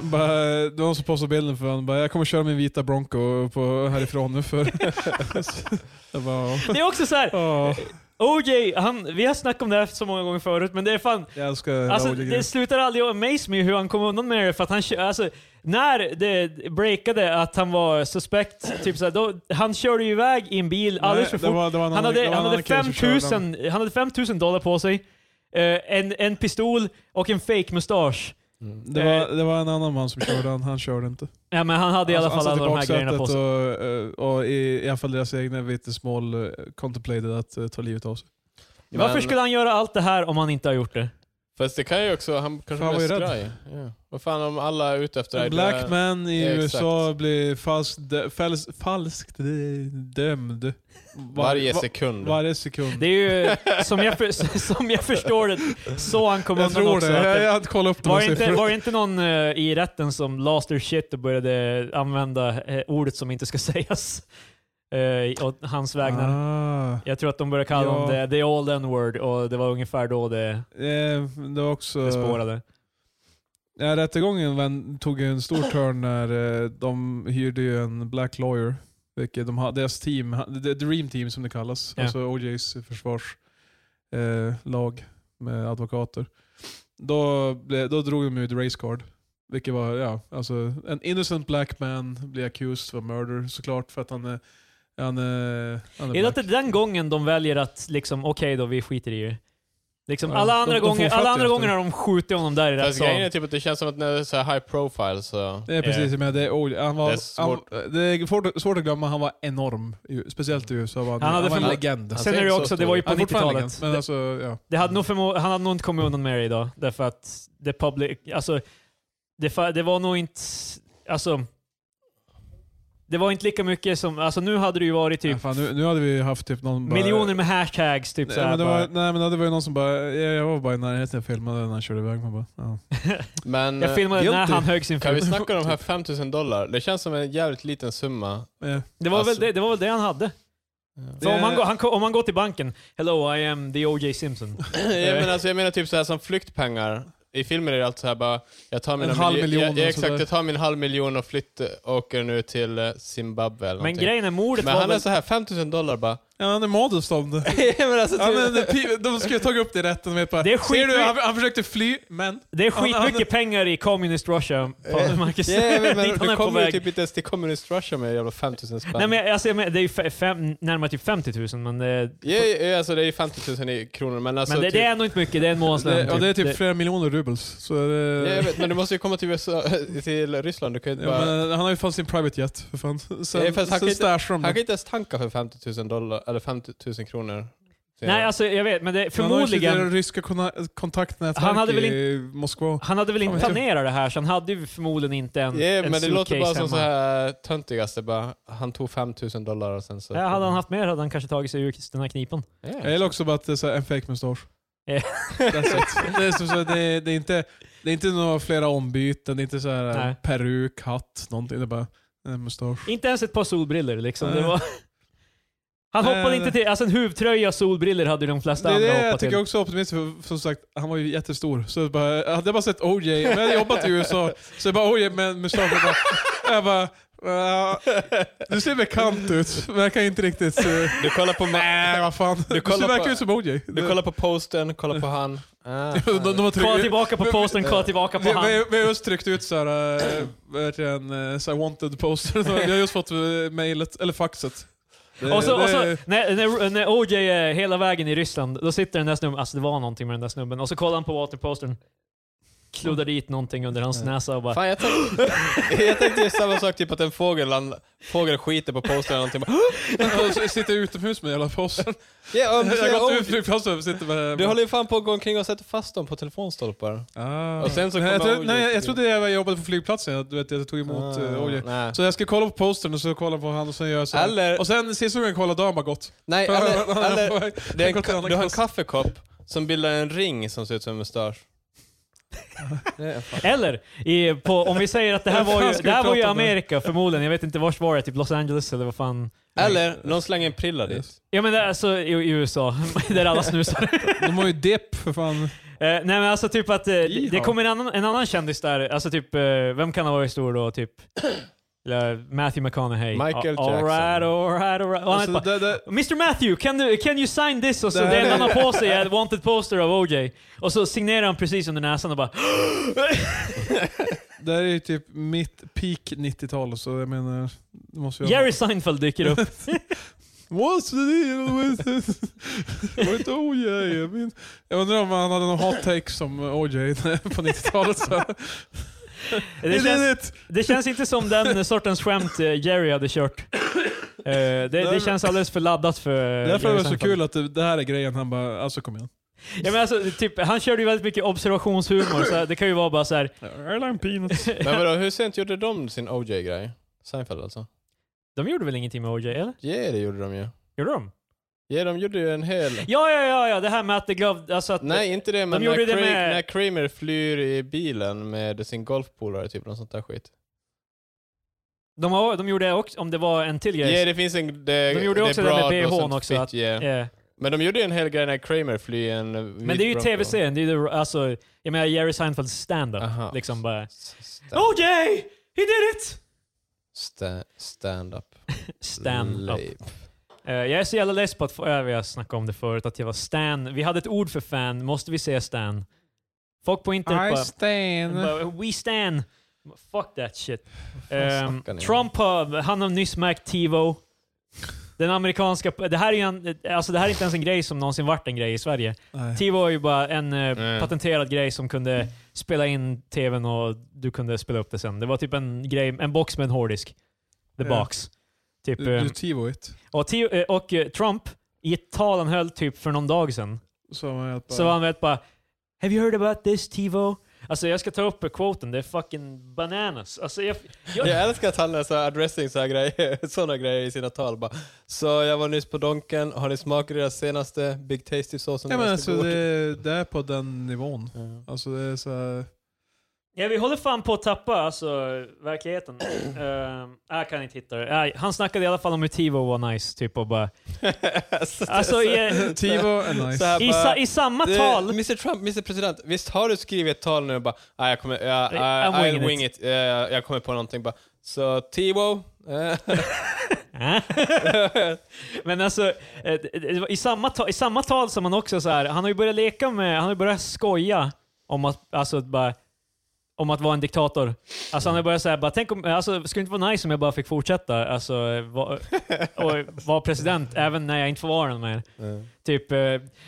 B: Bara, det var någon som postade bilden för honom. Bara, jag kommer köra min vita Bronco på, härifrån nu för... jag bara, ja.
A: Det är också så här,
B: Ja,
A: OJ, han, vi har snackat om det här så många gånger förut, men det är fan,
B: jag älskar
A: Alltså,
B: Roger
A: det
B: Gris.
A: slutar aldrig att amaze me hur han kom undan med det. För att han, kö- alltså, när det breakade att han var suspekt, typ såhär, då, han körde ju iväg i en bil alldeles för
B: Nej, det
A: fort.
B: var- det var en
A: Han
B: annan- det
A: hade,
B: var en
A: han, hade
B: annan kille som
A: 5
B: körde
A: 000, han hade 5 000 dollar på sig, eh, en, en pistol och en fake mustasch.
C: Mm.
B: Det var, det var en annan man som körde han, han körde inte.
A: eh, Ja, men han hade i alla fall
B: satt i
A: alla de här grejerna på
B: baksätet
A: sig.
B: Och, eh, och i, i alla fall deras egna vittnesmål eh, contemplated att eh, ta livet av sig.
A: Varför
C: Men-
A: skulle han göra allt det här om han inte har gjort det?
C: Fast det kan ju också, han kanske
B: Fan,
C: blir
B: vad jag är
C: skraj. Ja. Vad fan om alla är ute efter det här,
B: En
C: det är-
B: black man i
C: Ja, exakt.
B: USA blir falskt dö- fäls- falskt dömd. Var-
C: varje
B: va-
C: sekund.
B: Varje sekund.
A: Det är ju, som jag, för, som jag förstår det, så han kom
B: jag
A: undan
B: tror
A: också.
B: det.
A: att det-
B: Jag, jag hade kollat upp de
A: Var
B: här
A: det, inte,
B: siffrorna.
A: var det inte någon eh, i rätten som lost their shit och började använda eh, ordet som inte ska sägas? Uh, och hans vägnar.
B: Ah.
A: Jag tror att de började kalla
B: Ja.
A: honom det the old n-word och det var ungefär då det,
B: Eh, det var också...
A: det spårade.
B: Ja, rättegången vän, tog ju en stor turn när eh, de hyrde ju en black lawyer. Vilket de hade, deras team, ha- the dream team som det kallas,
A: Ja.
B: alltså OJs försvarslag eh, lag med advokater. Då, ble- då drog de ut race card. Vilket var, ja, alltså en innocent black man blir accused for murder såklart för att han är, han är, han är
A: Är det
B: black.
A: inte den gången de väljer att liksom, okej då, vi skiter i det. Liksom,
B: Ja,
A: alla
B: de-
A: andra
B: de får
A: gånger, alla
B: fötter
A: andra
B: efter.
A: gånger när de skjuter honom där i
C: Fast grejen är
A: rättssalen.
C: typ att det känns som att när det är så här high profile så...
B: Det är precis, men det är, ol- han var, det
C: Det är
B: är,
C: svårt.
B: Han, det är svårt, svårt att glömma, han var enorm. I- Speciellt i USA var han,
A: Han
B: han,
A: hade
B: var en
A: förmo-
B: legend.
C: Han
A: Sen är det
C: tänker så
A: också, det
C: stor.
A: var ju på
B: Han är fortfarande en
A: 90-talet.
B: legend, men alltså, ja.
A: Det hade nog förmo- han hade nog inte kommit undan med det idag. Därför att det public, alltså, det, fa- det var nog inte, alltså, det var inte lika mycket som, alltså nu hade det ju varit
B: Ja,
A: typ
B: fan, nu, nu hade vi haft typ någon bara,
A: miljoner med hashtags typ
B: Nej,
A: såhär.
B: men det var,
A: bara.
B: nej men det var ju någon som bara, jag, jag var bara i närheten, jag filmade när han körde iväg. Man bara, ja.
C: Men eh,
A: Jag filmade när
B: guilty.
A: han högg sin
C: kan
A: fru.
C: vi snacka om de här 5000 dollar? Det känns som en jävligt liten summa.
B: Eh,
A: Det var,
C: alltså-
A: väl det, det var väl det han hade.
B: Det-
A: För om, han, går- han, kom- om han går till banken, hello I am the O.J. Simpson.
C: jag, menar, alltså, jag menar typ så här som flyktpengar. I filmer är det alltid så här bara, jag tar mina
B: En halv
C: miljo-
B: miljon
C: jag,
B: och
C: jag, exakt,
B: sådär.
C: jag tar min halv miljon och flyttar, åker nu till eh, Zimbabwe eller
A: Men
C: någonting.
A: grejen är mordet
C: Men
A: var
C: han är
A: väl...
C: så här 5000 dollar bara.
B: ja, han är modest om det.
C: ja, men alltså,
B: Han är, pi- de skulle tagit upp det i rätten med bara,
A: typ. Det är
B: ser du,
A: skit-
B: han, han försökte fly, men...
A: Det är
B: Han- han-
A: skitmycket pengar i Communist Russia,
C: Eh,
A: Marcus.
C: men,
A: Dit han
C: du
A: är på
C: kommer ju
A: väg.
C: typ inte ens till Communist Russia med jävla 5000 spänn.
A: Nej, men, jag- alltså, jag menar, det är ju fe- fem, närmare typ 50 000, men, det,
C: Ja, ja, ja, alltså det är ju 50 000 i kronor, men alltså...
A: men det,
C: typ,
A: det är ändå inte mycket. Det är en månadslön.
B: Det, och det är typ flera miljoner rubels. Så det,
C: Ja, jag vet, men du måste ju komma till, USA, till Ryssland, du kan ju inte
B: Ja,
C: bara...
B: men han har ju fan sin private jet för fan. Sen,
C: Ja, fast han kan
B: sen
C: inte-
B: stashar de
A: Mm.
C: Han kan
B: det.
C: inte ens tanka för 50 000 dollar, eller 50 000 kronor. Så
A: Nej, alltså jag vet, men det,
B: Han har ju
A: förmodligen...
B: sitt ryska kona- kontaktnätverk
A: Han hade väl Ah,
B: i Moskva.
A: Han hade väl
B: Ja,
A: inte
B: men-
A: planerat det här, så han hade ju förmodligen inte en,
C: Ja,
A: en
C: men det låter
A: suitcase
C: bara som så
A: hemma.
C: här eh, töntigaste. Bara, han tog 5 000 dollar och sen så...
A: Ja, hade han haft mer hade han kanske tagit sig ur den här knipan.
B: Jag
C: Ja.
B: gillar också bara att det är så här en fake mustasch.
A: Ja.
B: That's it. det, är som så här, det, är, det, är inte, det är inte några flera ombyten, det är inte så här
A: Nej.
B: peruk, hatt, någonting. Det är bara en mustasch.
A: Inte ens ett par solbriller liksom. Det
B: Nej.
A: var... Han
B: Nej,
A: hoppade
B: nej.
A: inte till... Alltså en huvtröja och solbriller hade de
B: Det
A: flesta
B: är
A: andra
B: det jag
A: hoppat
B: tycker
A: till.
B: också är optimistiskt, för som sagt, han var ju jättestor. Så jag bara, jag hade jag bara sett OJ, men jag hade jobbat i USA, så jag bara OJ med en mustasch. Jag bara, jag bara "Ja, du ser bekant ut, men jag kan inte riktigt... eh,
C: Du kollar på...
B: Nej, vad fan. Du,
C: kollar
B: ser
C: på-
B: verkligen ut som OJ.
C: Du kollar på posten, kollar på han. Ah,
B: de, de har
A: Kolla
B: tryckt,
A: tillbaka på
B: Men-
A: posten, kolla tillbaka på
B: vi,
A: han.
B: vi, vi har just tryckt ut så här, eh, vad heter det, en eh, så här wanted poster. Så Vi har just fått eh, mejlet, eller faxet. Det-
A: Och så, och så
B: det-
A: när, när, när OJ är hela vägen i Ryssland, då sitter den där snubben, alltså det var någonting med den där snubben, och så kollar han på waterpostern, kluddar dit någonting under hans näsa och bara
C: Fan, jag, tänkte, jag tänkte ju samma sak, typ att en fågel, land, fågel skiter på posten eller någonting. Bara,
B: och så sitter jag utomhus med hela posten.
C: Ja, om
B: Jag
C: du,
B: har gått
C: säger,
B: ut flygplatsen och sitter med...
C: "Oh, du håller ju fan på att gå omkring och sätta fast dem på telefonstolpar.
B: Ah.
C: Och sen så
B: nej, jag,
C: kommer
B: tro-
C: OJ
B: nej, jag
C: till-
B: trodde jag jobbade på flygplatsen, jag, du vet, jag tog emot
C: Ah,
B: uh, OJ.
C: nej.
B: Så jag ska kolla på postern och så kolla på han och sen gör jag så här.
C: Eller-
B: Och sen sista gången jag kollade, då har han bara gått.
C: Nej, eller, eller det är
B: Han går till
C: en, ka-
B: andra
C: du har en
B: klass.
C: kaffekopp som bildar en ring som ser ut som en mustasch. Det är fan-
A: Eller, i, på, om vi säger att det här
B: Vad
A: var ju,
B: fan ska
A: det här
B: vi
A: var ju
B: prata om nu?
A: Amerika förmodligen, jag vet inte vart var det, typ Los Angeles eller vad fan.
C: Eller någon slänger en prilla dit.
A: Ja men det är alltså i, i USA, där alla snusar.
B: De har ju depp för fan.
A: Eh, nej men alltså typ att eh, det, det
B: Jaha.
A: kommer en annan, en annan kändis där, alltså typ, eh, vem kan ha varit stor då? Typ eller Matthew McConaughey.
C: Michael
A: A-
C: Jackson.
A: Alright, alright, alright. Och han
B: Alltså,
A: heter bara,
B: det, det,
A: Mr Matthew, can, du, can you sign this? Och så
B: Det
A: det
B: här
A: enda
B: är-
A: han har på sig är ett wanted poster av OJ. Och så signerar han precis under näsan och bara
B: det här är ju typ mitt peak 90-tal, så jag menar... Det måste jag
A: Jerry Seinfeld dyker upp.
B: What's the deal with this? Det var inte OJ. Jag, min... jag undrar om han hade någon hot take som OJ på 90-talet. Så.
A: Det
B: He did
A: känns,
B: it!
A: det känns inte som den sortens skämt eh, Jerry hade kört. Eh, det, det
B: men-
A: känns alldeles för laddat för eh,
B: Därför är det
A: Jerry
B: så
A: Seinfeld.
B: kul att det, det här är grejen. Han bara, alltså kom igen.
A: Ja, men alltså, typ, han körde ju väldigt mycket observationshumor, så det kan ju vara bara så här.
B: Airline peanuts.
A: Typ
C: Men vadå, hur sent gjorde de sin OJ-grej? Seinfeld alltså?
A: De gjorde väl ingenting med OJ, eller?
C: Ja, det gjorde de ju.
A: Gjorde de?
C: Ja, de gjorde ju en hel...
A: Ja, ja, ja, ja. det här med att det gav... Alltså att,
C: Nej, inte det, men
A: De
C: när,
A: gjorde det
C: Cra-
A: med-
C: när Kramer flyr i bilen med sin golfpolare, typ något sånt där skit.
A: De, har, de gjorde också, om det var en till
C: Ja,
A: grej.
C: det finns en... Det,
A: De gjorde
C: det är
A: också det med
C: Brad och
A: BH'n
C: sånt
A: också,
C: Fit,
A: att-
C: yeah.
A: Eh,
C: Men de gjorde ju en hel grej när Kramer flyr i en eh,
A: Men
C: vit
A: det är ju
C: Bronco.
A: tv-serien, det är ju alltså, jag menar Jerry Seinfelds stand-up.
C: Aha.
A: Liksom bara...
C: Sta-
A: OJ! He did it!
C: sta- Stand-up.
A: Stand-up.
C: Lame.
A: Eh, jag är så jävla less på att, få- ja, vi har snackat om det förut, att jag var stan. Vi hade ett ord för fan, måste vi säga stan? Folk på internet
B: I
A: bara,
B: stand.
A: bara, We stan! Fuck that shit.
C: fan
A: Ehm,
C: snackar ni om?
A: Trump har, han har nyss märkt TiVo. Den amerikanska, det här, är ju en, alltså det här är inte ens en grej som någonsin varit en grej i Sverige.
B: Nej.
A: TiVo är ju bara en eh,
C: Mm.
A: patenterad grej som kunde spela in tvn och du kunde spela upp det sen. Det var typ en, grej, en box med en hårddisk. The
B: Ja.
A: box. Typ,
B: Du,
A: eh,
B: du tivoit.
A: och, Ti- eh, och eh, Trump, i ett tal han höll typ för någon dag sedan,
B: Så man att bara,
A: så var han vet bara Have you heard about this TiVo? Alltså jag ska ta upp quoten, det är fucking bananas. Alltså jag, jag,
C: Jag älskar att han är så här addressing så här grejer, såna grejer i sina tal. Bara, så jag var nyss på Donken, har ni smakat deras senaste Big Tasty-såsen?
B: ja, men
C: Den är så
B: alltså,
C: god."
B: det, det är på den nivån.
C: Ja.
B: Alltså, det är så här,
A: Ja, vi håller fan på att tappa alltså, verkligheten. uh, jag kan inte hitta det. Nej, han snackade i alla fall om hur TiVo var nice, typ och bara...
C: Alltså, det är
A: Alltså,
C: så-
A: i,
B: Tivo är
C: Så
B: nice.
C: här
A: i,
C: bara-
A: sa, i samma
C: Det-
A: tal...
C: Mr Trump, Mr President, visst har du skrivit ett tal nu och bara ah, jag kommer, jag,
A: I-
C: I,
A: I'm winging
C: I'll wing it, Eh, jag kommer på någonting bara så Tivo, eh,
A: Men alltså, eh, det- det var i samma, ta, i samma tal som han också så här, han har ju börjat leka med, han har ju börjat skoja om att, alltså, bara, om att vara en diktator. Alltså han har börjat säga bara, tänk om, alltså, skulle det inte vara nice om jag bara fick fortsätta, alltså, eh, va, och vara president även när jag inte får vara den mer. Typ, eh,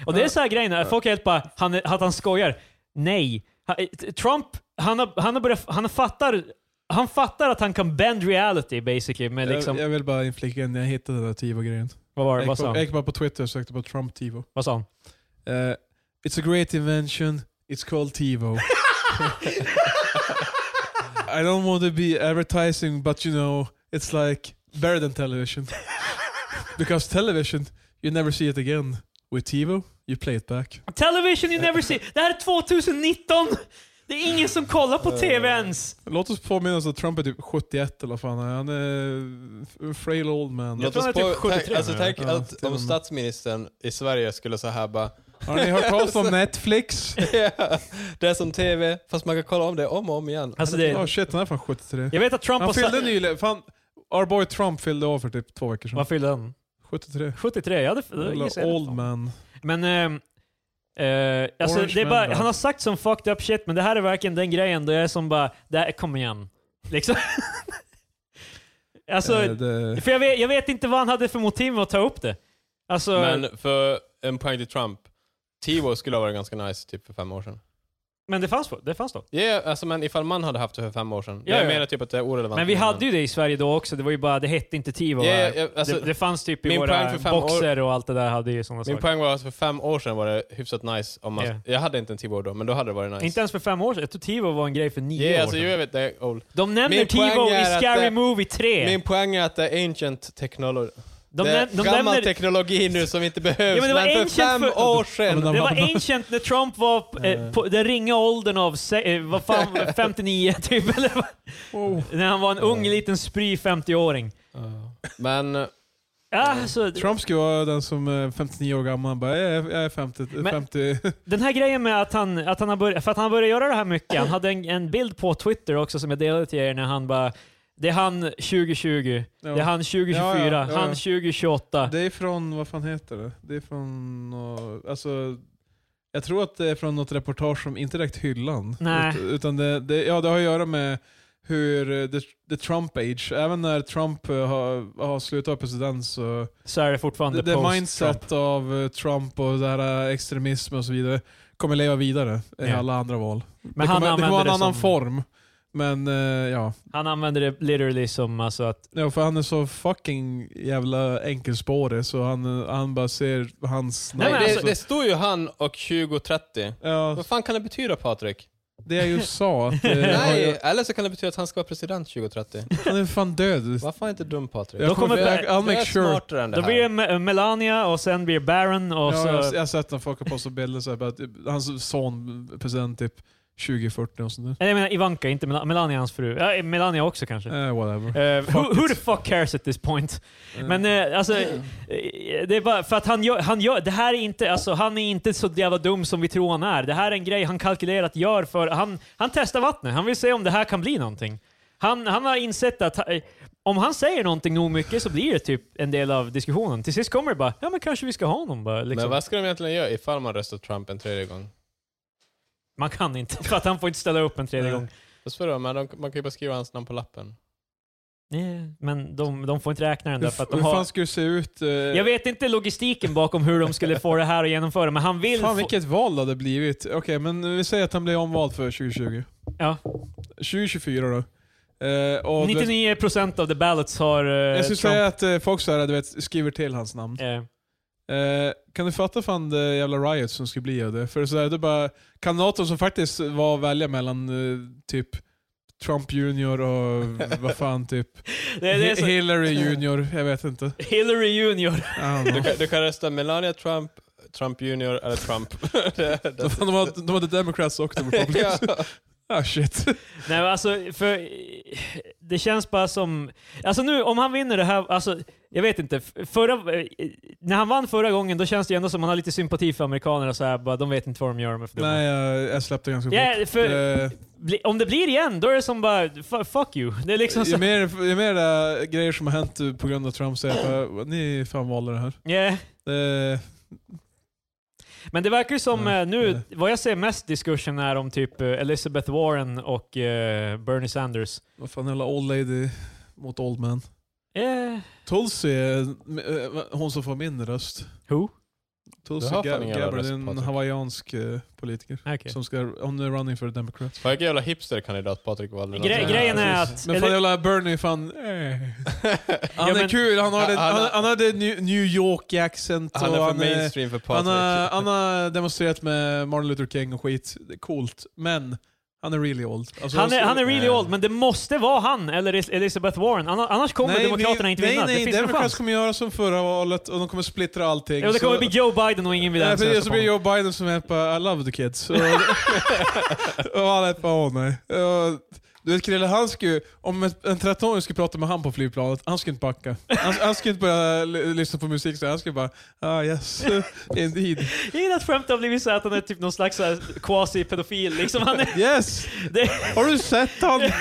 A: och det är så här grejen, att folk är helt bara, han, att han skojar. Nej. Ha- eh, Trump, han har, han har börjat, han fattar, han fattar att han kan bend reality basically med liksom,
B: jag, jag vill bara inflika när jag hittade den där Tivo-grejen.
A: vad var
B: Jag
A: det, vad
B: gick,
A: sa
B: på, jag
A: han?
B: gick bara på Twitter och sökte på Trump Tivo.
A: Vad sa han?
B: Eh, it's a great invention, it's called TiVo. I don't want to be advertising, but you know, it's like better than television. Because television, you never see it again. With TiVo, you play it back.
A: Television you never see. Det här är 2019! Det är ingen som kollar på TV
B: Eh,
A: ens.
B: Låt oss påminna oss att Trump är typ 71 eller vad fan. Han är en frail old man.
C: Låt
A: tror
C: oss
A: han är typ
C: på- tänk-
A: 73
C: alltså,
A: nu.
C: tänk
B: Ja,
C: att
B: till och
C: om
B: med.
C: statsministern i Sverige skulle så här bara
B: Har ni hört talas om Netflix?
C: "Ja, det är som TV fast man kan kolla om det om och om igen.
A: Alltså
B: Ja
A: det,
B: Oh, shit, han är fan 73.
A: jag vet att Trump
B: Han
A: har
B: fyllde
A: sagt...
B: nyligen, fan, our boy Trump fyllde av för typ två veckor sedan.
A: Vad fyllde han?
B: 73.
A: 73? Jag hade, jag
B: Jävla
A: gissade
B: old
A: fan.
B: man.
A: Men... ehm, eh, alltså,
B: Orange
A: det är bara,
B: man,
A: han
B: då.
A: har sagt som fucked up shit, men det här är verkligen den grejen då jag är som bara, det här, kom igen. Liksom. alltså,
B: Eh, det,
A: för jag vet, jag vet inte vad han hade för motiv med att ta upp det. Alltså, men,
C: Men för en poäng till Trump, Tivo skulle ha varit ganska nice typ för fem år sedan.
A: det fanns det fanns då.
C: Ja, alltså men ifall man hade haft det för fem år sedan.
A: Ja,
C: jag
A: ja.
C: menar typ att det är orelevant.
A: Men vi hade ju det i Sverige då också, det var ju bara, det hette inte TiVo.
C: Ja, ja,
A: här.
C: ja, alltså,
A: det, det fanns typ i
C: min
A: våra
C: poäng för fem år-
A: boxer och allt det där hade ju sådana
C: Min
A: saker.
C: poäng var att för fem år sedan var det hyfsat nice. Om man,
A: Ja.
C: Jag hade inte en Tivo då, men då hade det varit nice.
A: Inte ens för fem år sedan. Jag tror TiVo var en grej för nio
C: yeah,
A: år
C: alltså,
A: sedan.
C: ju, jag vet, det är old.
A: De nämner
C: Min
A: TiVo
C: poäng
A: i
C: är att
A: Scary
C: det-
A: Movie 3.
C: Min poäng är att det är ancient technology.
A: de
C: det är
A: näm- de
C: gammal
A: nämner...
C: teknologi nu som inte behövs.
A: Ja, men
C: men,
A: det var
C: för
A: ancient
C: fem
A: för-
C: år
B: Ja, men
C: sedan!
B: de-
A: det var ancient när Trump var p- eh, på den ringa åldern av se- eh, vad fan, 59 typ. Eller vad?
B: oh.
A: när han var en ung liten spry 50-åring.
C: Men
A: Alltså,
B: Trump ska vara den som är 59 år gammal. Han bara, "Eh, jag är, jag är 50.
A: Men-
B: 50.
A: Den här grejen med att han, att han har börjat, för att han började göra det här mycket. Han hade en, en bild på Twitter också som jag delade till er när han bara det är han 2020, det är
B: Ja.
A: han 2024,
B: Ja, ja, ja.
A: han 2028.
B: Det är från, vad fan heter det? Det är från, uh, alltså, jag tror att det är från något reportage som inte direkt hyllan.
A: Nej.
B: Ut- Utan det, det, ja, det har att göra med hur eh, the, the Trump age, även när Trump eh, har, har slutat president så
A: Så är det fortfarande
B: det, det
A: post-Trump.
B: mindset av eh, Trump och det här eh, extremism och så vidare kommer leva vidare i
A: Ja.
B: alla andra val.
A: Men
B: det
A: han
B: kommer, det kommer
A: använder
B: vara en
A: det,
B: annan
A: som,
B: form. Men eh, ja.
A: han använder det literally som alltså att...
B: ja, för han är så fucking jävla enkelspårig så han, eh, han bara ser hans...
A: Nej,
C: nej,
A: men
C: det,
A: alltså-
C: det stod ju han och 2030.
B: ja,
C: Vad fan kan det betyda Patrik?
B: det jag just sa. Att, eh,
C: Nej,
B: han-
C: eller så kan det betyda att han ska vara president 2030.
B: han är fan död.
C: Varför är inte dum Patrik?
A: Då
B: Jag kommer,
A: kommer
B: jag, I'll
C: Du är
B: make sure.
C: smartare än det
A: Då blir det
C: här.
A: Me- Melania och sen blir det Baron och
B: Ja,
A: så...
B: jag, jag har sett när folk har postat bilder så här, bara, typ, hans son president typ 2040 och sånt
A: Nej, jag menar Ivanka, inte Melania, Melania hans fru. Ja, Melania också kanske.
B: där. Eh, whatever.
A: Eh, who,
B: fuck
A: who
B: it.
A: the fuck cares at this point?
B: Eh,
A: Men eh, alltså, eh, det är bara för att han gör, han gör, det här är inte, alltså han är inte så jävla dum som vi tror han är. Det här är en grej han kalkylerat gör för, han, han testar vattnet. Han vill se om det här kan bli någonting. Han, han har insett att eh, om han säger någonting nog mycket så blir det typ en del av diskussionen. Till sist kommer det bara, ja men kanske vi ska ha honom bara. Liksom.
C: Men vad ska de egentligen göra ifall man röstar Trump en tredje gång?
A: Man kan inte, för att han får inte ställa upp en tredje
B: Nej.
A: gång.
C: Fast vadå, men de, man kan ju bara skriva hans namn på lappen.
A: Nej, men de, de får inte räkna den där
B: Hur,
A: för
B: f-
A: att de
B: hur
A: har...
B: fan skulle det se ut? eh,
A: Jag vet inte logistiken bakom hur de skulle få det här att genomföra, men han vill
B: Fan
A: få...
B: vilket val det hade blivit. Okej, men vi säger att han blev omvald för 2020.
A: Ja.
B: 2024 då. Eh, och du vet,
A: 99% av the ballots har eh,
B: jag skulle
A: Trump.
B: säga att eh, folk så här, du vet, skriver till hans namn.
A: Eh,
B: Eh, kan du fatta fan det jävla riot som skulle bli av det? För så här, det är bara kandidater som faktiskt var att välja mellan eh, typ Trump junior och vad fan typ
A: det, det är så...
B: Hillary junior, jag vet inte. I
A: Hillary Junior.
B: don't know.
C: Du kan, du kan rösta Melania Trump, Trump Junior eller Trump. det, det.
B: De hade, de hade Democrats och Republicans.
C: Ja.
B: ah shit.
A: Nej, men alltså, för... Det känns bara som... Alltså nu, om han vinner det här... Alltså, jag vet inte. F- Förra, eh, när han vann förra gången, då känns det ju ändå som att han har lite sympati för amerikanerna. och Så här, bara, de vet inte vad de gör. Med för dumma.
B: Nej, jag, jag släppte ganska fort.
A: Ja, för,
B: Eh,
A: bli, om det blir igen, då är det som bara f- fuck you. Det är liksom
B: ju
A: så,
B: mer, ju mer eh, grejer som har hänt eh, på grund av Trump så är jag bara, ni fan valde det här.
A: yeah.
B: Eh,
A: Men det verkar ju som
B: Mm,
A: eh,
B: eh.
A: nu, vad jag ser mest diskursen är om typ eh, Elizabeth Warren och eh, Bernie Sanders.
B: vad fan, hela old lady mot old man.
A: Eh,
B: Tulsi, eh, eh, hon som får min röst.
A: who?
B: Tulsi
C: Du har fan
B: Gab-
C: ingen
B: Gabbard,
C: röst,
B: är en
C: Patrik.
B: hawaiiansk eh, politiker.
A: Okej.
B: Som ska, hon är running for Democrat.
C: Vad jävla hipsterkandidat Patrik valde.
A: Gre-
B: Ja,
A: grejen är
B: precis.
A: att...
B: Men fan
A: eller,
B: jävla Bernie fan... Eh. Han
A: Ja,
B: är
A: men-
B: kul, han har,
C: Ja,
B: det,
C: han-
B: han, han hade New, New York accent
C: Han
B: och
C: är för
B: han, eh,
C: mainstream för
B: han,
C: Patrik.
B: har, han har demonstrerat med Martin Luther King och skit. Det är coolt. Men han är really old. Alltså,
A: han, är,
B: alltså-
A: han är really
C: Eh.
A: old, men det måste vara han eller Elis- Elizabeth Warren. Anna- Annars kommer
B: Nej,
A: Demokraterna
B: vi-
A: inte
B: nej,
A: vinna.
B: Nej,
A: det finns ingen
B: Democrats
A: chans.
B: kommer göra som förra valet och de kommer splittra allting.
A: Ja, det kommer
B: så-
A: bli Joe Biden och ingen vill
B: Nej,
A: ens
B: Eh, för det
A: rösta
B: så
A: på
B: blir
A: honom.
B: Joe Biden som är på I love the kids. Och, och alla är på åh nej. Och, du vet Krille, han skulle, om ett- en 13-åring skulle prata med han på flygplanet, han skulle inte backa. Han, han skulle inte börja l- lyssna på musik, så han skulle bara ah yes, indeed.
A: Jag gillar att skämt har blivit så här att han är typ någon slags så här quasi-pedofil. Liksom han är,
B: Yes!
A: det,
B: Har du sett han? Nej